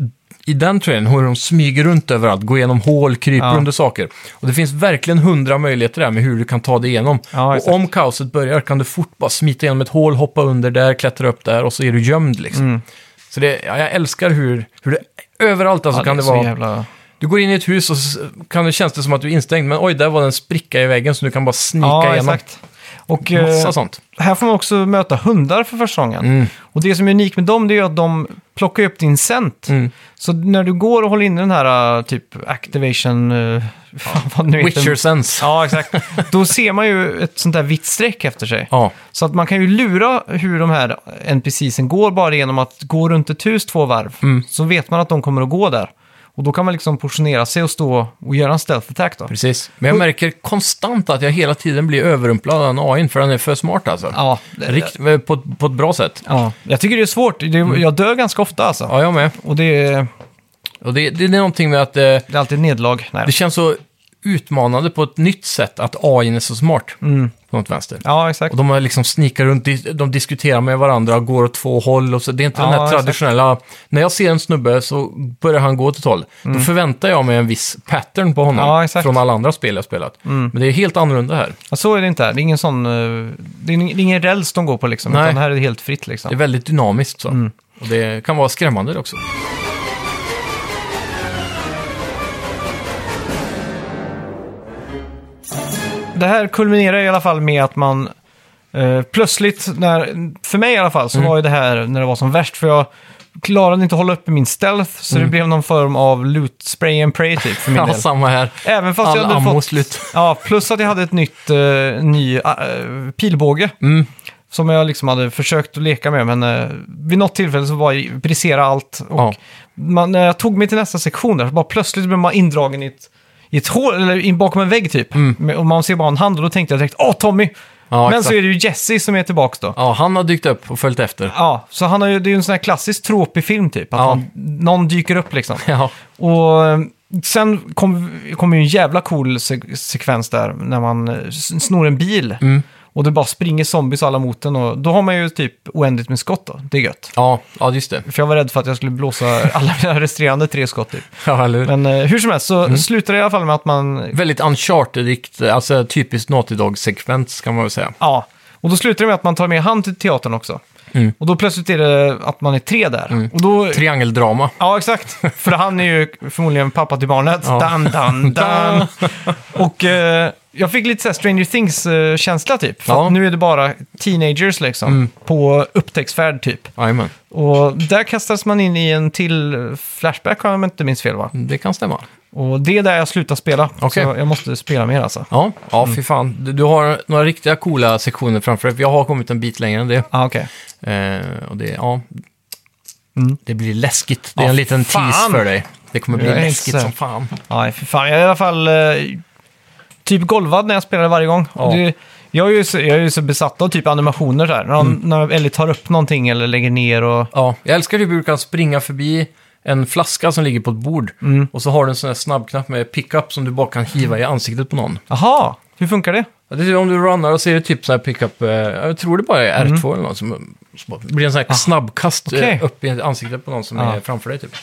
B: i den trailern, hur de smyger runt överallt, går igenom hål, kryper
A: Ja.
B: under saker. Och det finns verkligen hundra möjligheter där med hur du kan ta dig igenom.
A: Ja,
B: och
A: exakt.
B: om kaoset börjar kan du fort bara smita igenom ett hål, hoppa under där, klättra upp där och så är du gömd liksom.
A: Mm.
B: Så det, ja, jag älskar hur, hur det, överallt alltså
A: ja,
B: kan
A: det
B: det
A: är så
B: vara
A: jävla...
B: du går in i ett hus och s- kan det känns det som att du är instängd, men oj, där var det en spricka i väggen så du kan bara snika
A: Ja,
B: igenom.
A: exakt. Och eh,
B: Massa sånt.
A: här får man också möta hundar för första gången.
B: Mm.
A: Och det som är unikt med dem det är ju att de plockar upp din scent.
B: Mm.
A: Så när du går och håller inne den här eh, typ activation... eh, fan, vad nu heter den?
B: Witcher sense.
A: Ja, exakt. Då ser man ju ett sånt där vitt streck efter sig.
B: Ja.
A: Så att man kan ju lura hur de här NPCsen går bara genom att gå runt ett hus två varv.
B: Mm.
A: Så vet man att de kommer att gå där. Och då kan man liksom portionera sig och stå och göra en stealth attack då.
B: precis. Men jag märker konstant att jag hela tiden blir överrumplad av den AIn, för den är för smart alltså.
A: Ja, det-
B: Rikt, eh, på, på ett bra sätt.
A: ja, jag tycker det är svårt. Det, Jag dör ganska ofta alltså.
B: Mm. Ja, jag med.
A: Och det är,
B: Och det, det är någonting med att eh,
A: det är alltid nederlag. Nej.
B: det känns så utmanande på ett nytt sätt att AIn är så smart.
A: Mm.
B: På något vänster.
A: Ja, exakt.
B: Och de har liksom snikar runt, dis- de diskuterar med varandra, går åt två håll och så. Det är inte den
A: Ja,
B: här
A: exakt.
B: traditionella... När jag ser en snubbe så börjar han gå åt ett håll. Då förväntar jag mig en viss pattern på honom
A: Mm. Ja, exakt. Mm.
B: från alla andra spel jag spelat. Men det är helt annorlunda här.
A: Ja, så är det inte här. Det är ingen sån... eh, Det är ingen- det är ingen räls de går på liksom.
B: Nej.
A: Utan här är det helt fritt liksom.
B: Det är väldigt dynamiskt så.
A: Mm.
B: Och det kan vara skrämmande också.
A: det här kulminerar i alla fall med att man eh, plötsligt, när, för mig i alla fall, så
B: Mm.
A: var ju det här när det var som värst. För jag klarade inte att hålla uppe min stealth, så det blev någon form av loot spray and pray typ för min
B: Mm. Ja,
A: del.
B: samma här.
A: Även fast
B: All
A: jag hade
B: ammo
A: fått...
B: slut.
A: Ja, plus att jag hade ett nytt, eh, ny eh, pilbåge.
B: Mm.
A: Som jag liksom hade försökt att leka med, men eh, vid något tillfälle så bara brisera allt. Och
B: Ja.
A: man, när jag tog mig till nästa sektion där, så bara plötsligt blev man indragen i ett, i ett hål, eller in bakom en vägg typ. Med- Och man ser bara en hand och då tänkte jag direkt, åh Tommy!
B: Mm. Ja,
A: men
B: exakt.
A: så är det ju Jesse som är tillbaka då.
B: Ja, han har dykt upp och följt efter.
A: Ja, så han har ju, det är ju en sån här klassisk tråkig film typ, att
B: Ja.
A: man, någon dyker upp liksom.
B: Ja,
A: Och eh, sen kom, kom ju en jävla cool se sekvens där när man eh, s- snor en bil. Och det bara springer zombies alla mot den och då har man ju typ oändligt med skott då. Det är gött.
B: ja, ja just det.
A: För jag var rädd för att jag skulle blåsa alla mina resterande tre skott typ.
B: Ja, eller hur?
A: Men eh, hur som helst så slutar det i alla fall med att man...
B: Väldigt uncharted-ikt, alltså typiskt Naughty Dog-sekvens kan man väl säga.
A: Ja. Och då slutar det med att man tar med han till teatern också. Och då plötsligt är det att man är tre där. Och då...
B: Triangeldrama.
A: Ja, exakt. För han är ju förmodligen pappa till barnet.
B: Ja.
A: Dan, dan, dan. Och eh, jag fick lite så här Stranger Things-känsla typ. För
B: Ja.
A: att nu är det bara teenagers liksom. På upptäcktsfärd typ.
B: Jajamän,
A: Och där kastades man in i en till eh, Flashback om jag inte minns fel va?
B: det kan stämma.
A: Och det är där jag slutar spela.
B: Mm. Okej.
A: Så jag måste spela mer alltså.
B: Ja, ja fy fan. Du, du har några riktiga coola sektioner framför dig. för Jag har kommit en bit längre än det.
A: Ah, okej.
B: Eh, och det, ja. det blir läskigt. Det är
A: Mm. Ja,
B: en liten
A: fan.
B: tease för dig. Det kommer bli
A: Jag är inte
B: läskigt
A: säker.
B: som fan.
A: Nej, för fan. Jag är i alla fall eh, typ golvad när jag spelar varje gång.
B: Ja.
A: Det, jag, är ju så, jag är ju så besatt av typ animationer där. När, mm. när Ellie tar upp någonting eller lägger ner och...
B: Ja, jag älskar hur du kan springa förbi en flaska som ligger på ett bord.
A: Mm.
B: Och så har du en sån här snabbknapp med pickup som du bara kan hiva i ansiktet på någon.
A: Jaha, hur funkar det?
B: Ja, Det är typ om du runnar och ser det typ sån här pickup, eh, jag tror det bara är R2 eller något, som, som blir en sån här snabbkast eh,
A: Mm. Ah, okej. Ah.
B: upp i ansiktet på någon som
A: Ja.
B: är framför dig typ.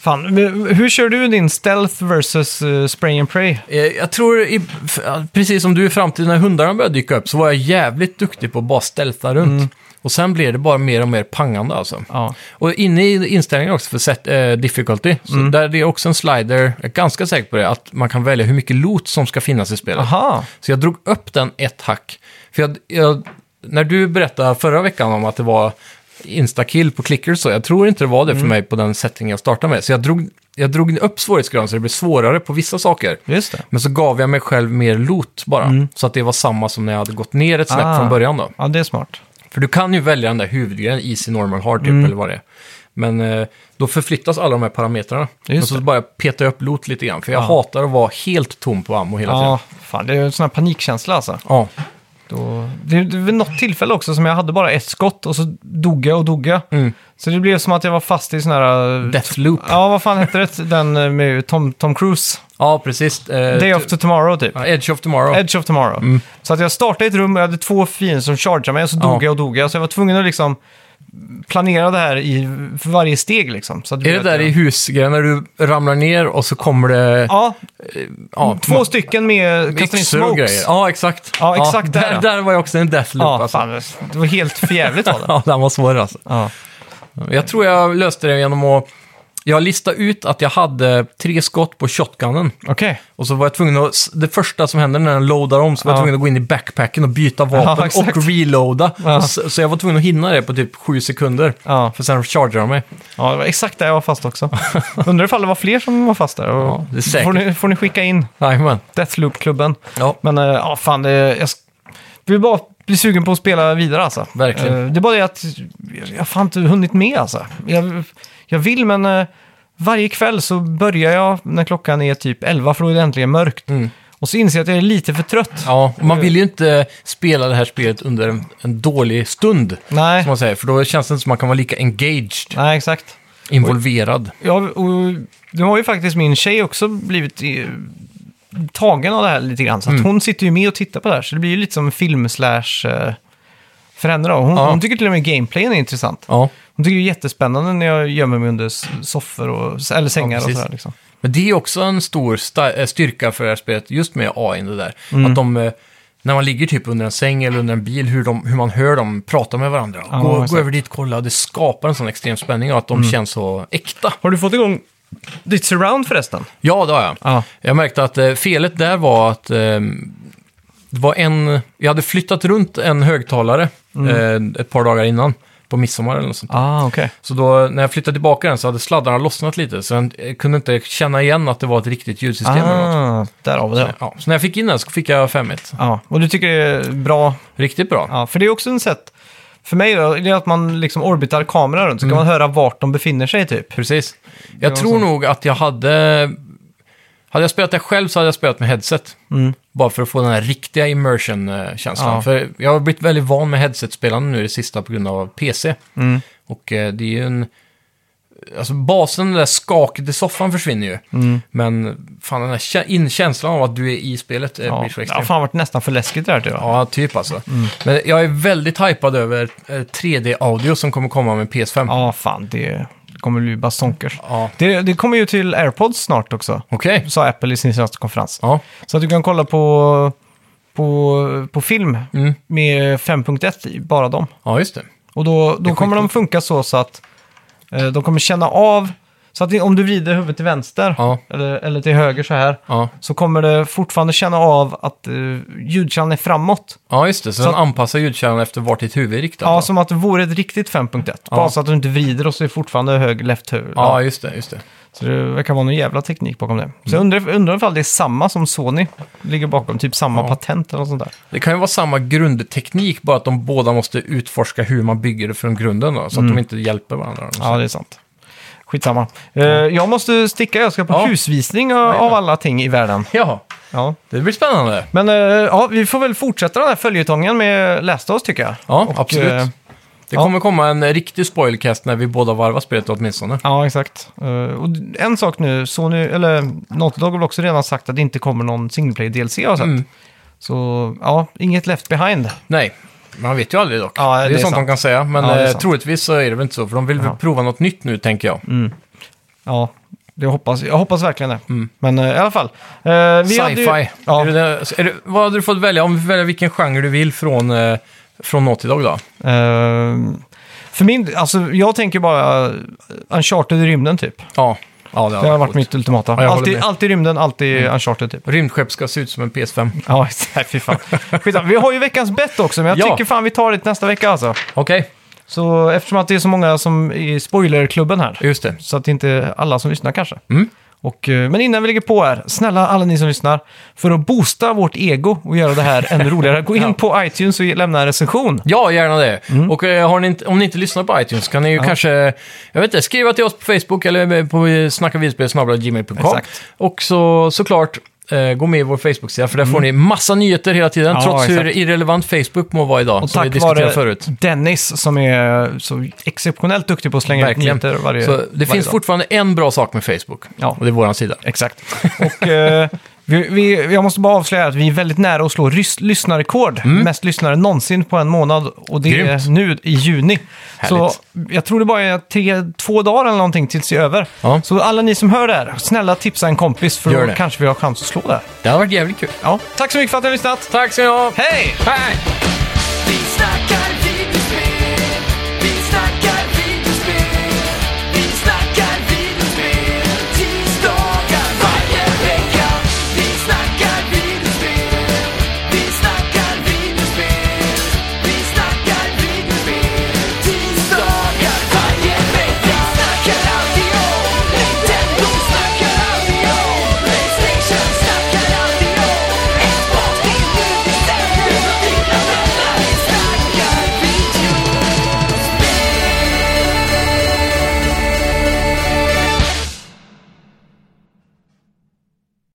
A: Fan, men hur kör du din stealth versus eh, spray and pray?
B: Eh, Jag tror, i, f- precis som du i framtiden när hundarna började dyka upp, så var jag jävligt duktig på att bara stealtha runt. Och sen blev det bara mer och mer pangande alltså.
A: Mm. Ja,
B: Och inne i inställningen också för set, eh, difficulty, så
A: Mm.
B: där det är också en slider, jag är ganska säker på det, att man kan välja hur mycket loot som ska finnas i spelet.
A: aha.
B: Så jag drog upp den ett hack. För jag, jag, när du berättade förra veckan om att det var instakill på clicker så, jag tror inte det var det
A: Mm.
B: för mig på den setting jag startade med. Så jag drog, jag drog upp svårighetsgraden så det blev svårare på vissa saker.
A: Just det.
B: Men så gav jag mig själv mer loot bara. Så att det var samma som när jag hade gått ner ett snäpp
A: Mm. Ah.
B: från början då.
A: Ja, det är smart. Mm.
B: För du kan ju välja den där huvudgrejen, easy, normal, hard typ, eller vad det är. Men eh, då förflyttas alla de här parametrarna.
A: Just
B: och så
A: det. Ah.
B: bara petar jag upp loot lite grann, för jag
A: Ja.
B: hatar att vara helt tom på ammo hela tiden. Ah.
A: Ja, fan det är ju en sån här panikkänsla alltså.
B: Ja,
A: Då, det, det var något tillfälle också som jag hade bara ett skott och så dog jag och dog jag.
B: Mm.
A: Så det blev som att jag var fast i sån här... eh,
B: Deathloop. Ja,
A: Ja, vad fan hette det? Den eh, med Tom, Tom Cruise?
B: precis. Eh,
A: Day
B: ty-
A: of to tomorrow typ.
B: ja, Edge of Tomorrow.
A: Edge of tomorrow. Så att jag startade ett rum och jag hade två fiender som chargeade mig och så dog
B: Ja.
A: jag och dog jag. Så jag var tvungen att liksom planera det här i, för varje steg liksom. Så att
B: Är det
A: att
B: där
A: jag,
B: i husgrejen när du ramlar ner och så kommer det...
A: Ja,
B: ja,
A: två stycken med kastade Ah, in
B: Yxor och
A: smokes.
B: grejer. Ja, exakt.
A: Ja, exakt där,
B: där,
A: ja.
B: där var jag också en deathloop.
A: Ja,
B: alltså.
A: fan, det var helt förjävligt var det.
B: ja, den var svår alltså.
A: Ja.
B: Jag tror jag löste det genom att... Jag listade ut att jag hade tre skott på shotgunnen.
A: Okej.
B: Och så var jag tvungen att... Det första som hände när den loadar om så var jag
A: Ja.
B: tvungen att gå in i backpacken och byta
A: Ja,
B: vapen
A: exakt.
B: och reloada.
A: Ja.
B: Och Så, så jag var tvungen att hinna det på typ sju sekunder.
A: Ja.
B: För sen chargeade de mig.
A: ja, det var exakt där jag var fast också. Undrar ifall det var fler som var fast där. Och
B: Ja, det är säkert.
A: får, ni, får ni skicka in
B: Jajamän.
A: Deathloop-klubben.
B: Ja.
A: Men eh, ja, fan, det, jag sk- vill bara bli sugen på att spela vidare alltså.
B: Verkligen.
A: Eh, det är bara det att jag- jag har fan inte hunnit med alltså. Jag, jag vill, men eh, varje kväll så börjar jag när klockan är typ 11, för då är det äntligen mörkt.
B: Mm.
A: Och så inser jag att jag är lite för trött.
B: Ja, och man vill ju inte spela det här spelet under en, en dålig stund.
A: Nej.
B: Som man säger, för då känns det inte som man kan vara lika engaged,
A: Nej, exakt.
B: involverad.
A: Ja, och nu har ju faktiskt min tjej också blivit eh, tagen av det här lite grann. Så att
B: Mm.
A: hon sitter ju med och tittar på det här. Så det blir ju lite som en film slash eh, för henne då. Hon,
B: Ja.
A: hon tycker till och med gameplayen är intressant.
B: Ja.
A: Hon tycker det är jättespännande när jag gömmer mig under s- soffor och, eller sängar och
B: precis.
A: sådär. Liksom.
B: Men det är också en stor sta- eh, styrka för det här spelet, just med AI det där.
A: Mm.
B: Att de, eh, när man ligger typ under en säng eller under en bil, hur, de, hur man hör dem prata med varandra.
A: Ja,
B: gå,
A: exakt. Mm.
B: gå över dit, kolla. Det skapar en sån extrem spänning och att de känns så äkta.
A: Har du fått igång ditt surround förresten?
B: Ja, det har jag.
A: Ja.
B: Jag märkte att eh, felet där var att eh, det var en... Jag hade flyttat runt en högtalare
A: Mm.
B: eh, ett par dagar innan, på midsommar eller något sånt.
A: Ah, okej.
B: Så då, när jag flyttade tillbaka den så hade sladdarna lossnat lite, så jag eh, kunde inte känna igen att det var ett riktigt ljudsystem. eller något.
A: Ah, där har vi det.
B: Ja, så när jag fick in den så fick jag 5
A: Ja, och du tycker det är bra
B: Riktigt bra.
A: Ja, för det är också en sätt. För mig då, det är att man liksom orbitar kameran runt, så kan man höra vart de befinner sig typ.
B: Precis.
A: var
B: Jag
A: så.
B: tror nog att jag hade... Hade jag spelat det själv så hade jag spelat med headset. Bara för att få den här riktiga immersion-känslan.
A: Mm. Ja.
B: För jag har blivit väldigt van med headset-spelande nu i det sista på grund av PC.
A: Mm.
B: Och eh, det är ju en... Alltså basen, det där skaket i soffan försvinner ju.
A: Mm.
B: Men fan den här kä- inkänslan av att du är i spelet eh,
A: Ja,
B: blir så
A: det
B: extrem.
A: har fan varit nästan för läskigt det här tror jag.
B: Ja, typ alltså. Men jag är väldigt hypad över eh, 3D-audio som kommer komma med PS5.
A: Ja, fan, det kommer bli bara sonkers.
B: Ja.
A: Det, det kommer ju till AirPods snart också,
B: Okej.
A: sa Apple i sin senaste konferens.
B: Ja.
A: Så att du kan kolla på, på, på film
B: Mm.
A: med 5.1, i bara dem.
B: ja, just det.
A: Och då,
B: Det är
A: då kommer de funka så, så att eh, de kommer känna av, så att det- om du vrider huvudet till vänster
B: Ja.
A: eller, eller till höger så här,
B: Ja.
A: så kommer det fortfarande känna av att eh, ljudkällan är framåt.
B: Ja, just det. Så,
A: Så
B: den anpassar ljudkällan efter vart ditt huvud är riktat.
A: Ja,
B: va?
A: som att det vore ett riktigt 5.1. Bara så att du inte vrider och så är det fortfarande hög left höger.
B: ja, Mm. just det. Just det.
A: Så det verkar vara någon jävla teknik bakom det. Så jag undrar, undrar ifall det är samma som Sony ligger bakom, typ samma
B: Ja.
A: patent eller något sånt där.
B: det kan ju vara samma grundteknik, bara att de båda måste utforska hur man bygger det från grunden. Då, så att de inte hjälper varandra.
A: Mm. Ja, det är sant. Skitsamma. Eh, jag måste sticka, jag ska på
B: Ja.
A: husvisning av, av alla ting i världen.
B: ja,
A: Ja.
B: det blir spännande.
A: Men eh, ja, vi får väl fortsätta den här följetongen med Last of Us tycker jag.
B: Ja,
A: Och,
B: absolut.
A: eh,
B: det
A: ja.
B: kommer komma en riktig spoilcast när vi båda varvar spelet åtminstone.
A: Ja, exakt. Eh, och en sak nu, Sony, eller Naughty Dog har väl också redan sagt att det inte kommer någon single play DLC har jag sett.
B: Mm.
A: Så ja, inget left behind.
B: Nej, man vet ju aldrig dock.
A: Ja,
B: det är
A: det är
B: sånt
A: sant.
B: de kan säga, men
A: Ja, det är
B: eh,
A: sant.
B: troligtvis så är det väl inte så, för de vill väl
A: Ja. Mm.
B: prova något nytt nu, tänker jag.
A: Ja, det hoppas, jag hoppas verkligen det. Men eh, i alla fall. Eh, vi hade ju-
B: Mm. Sci-fi.
A: Ja,
B: Är det det, är det, vad hade du fått välja? Om du väljer vilken genre du vill från, eh, från Naughty Dog då?
A: eh, för min alltså jag tänker bara eh, Uncharted i rymden typ.
B: Ja, ja det,
A: Det har
B: varit
A: varit mitt ultimata.
B: Ja, jag håller
A: alltid,
B: med. Mm.
A: alltid rymden, alltid Uncharted typ.
B: Rymdskepp ska se ut som en PS5.
A: Ja, nej, fy fan. Skitsamma. vi har ju veckans bett också, men jag
B: Ja.
A: tycker fan vi tar det nästa vecka alltså.
B: Okej,
A: Så eftersom att det är så många som är i spoilerklubben här.
B: just det. Mm.
A: Så att det inte är alla som lyssnar kanske. Och, eh, men innan vi lägger på här, snälla alla ni som lyssnar, för att boosta vårt ego och göra det här ännu roligare, gå in på iTunes och ge- lämna en recension.
B: Ja, gärna det.
A: Mm.
B: Och eh, har ni inte, om ni inte lyssnar på iTunes kan ni ju kanske, jag vet inte, skriva till oss på Facebook eller på eh, snackavidspel.gmail.com.
A: Exakt.
B: Och så, såklart, eh, gå med i vår Facebook-sida för där får ni massa nyheter hela tiden,
A: Mm. Ja,
B: trots hur
A: exakt.
B: irrelevant Facebook må vara idag,
A: Och
B: som vi
A: tack
B: diskuterade
A: vare
B: förut.
A: Dennis som är så exceptionellt duktig på att slänga ut
B: Verkligen.
A: nyheter varje
B: så det
A: varje
B: finns
A: dag.
B: fortfarande en bra sak med Facebook,
A: Ja.
B: och det är vår sida.
A: Exakt. Och eh, vi, vi, jag måste bara avslöja att vi är väldigt nära att slå rys- lyssnarrekord. Mest lyssnare någonsin på en månad och det
B: Mm. Grymt.
A: är nu i juni. Så
B: Härligt.
A: jag tror det bara är tre, två dagar eller någonting tills det är över.
B: Ja.
A: Så alla ni som hör det här, snälla tipsa en kompis för
B: Gör
A: då
B: det.
A: kanske vi har chans att slå det här.
B: Det har varit jävligt kul.
A: Ja. Tack så mycket för att ni har lyssnat.
B: Tack ska ni ha!
A: Hej!
B: Hej!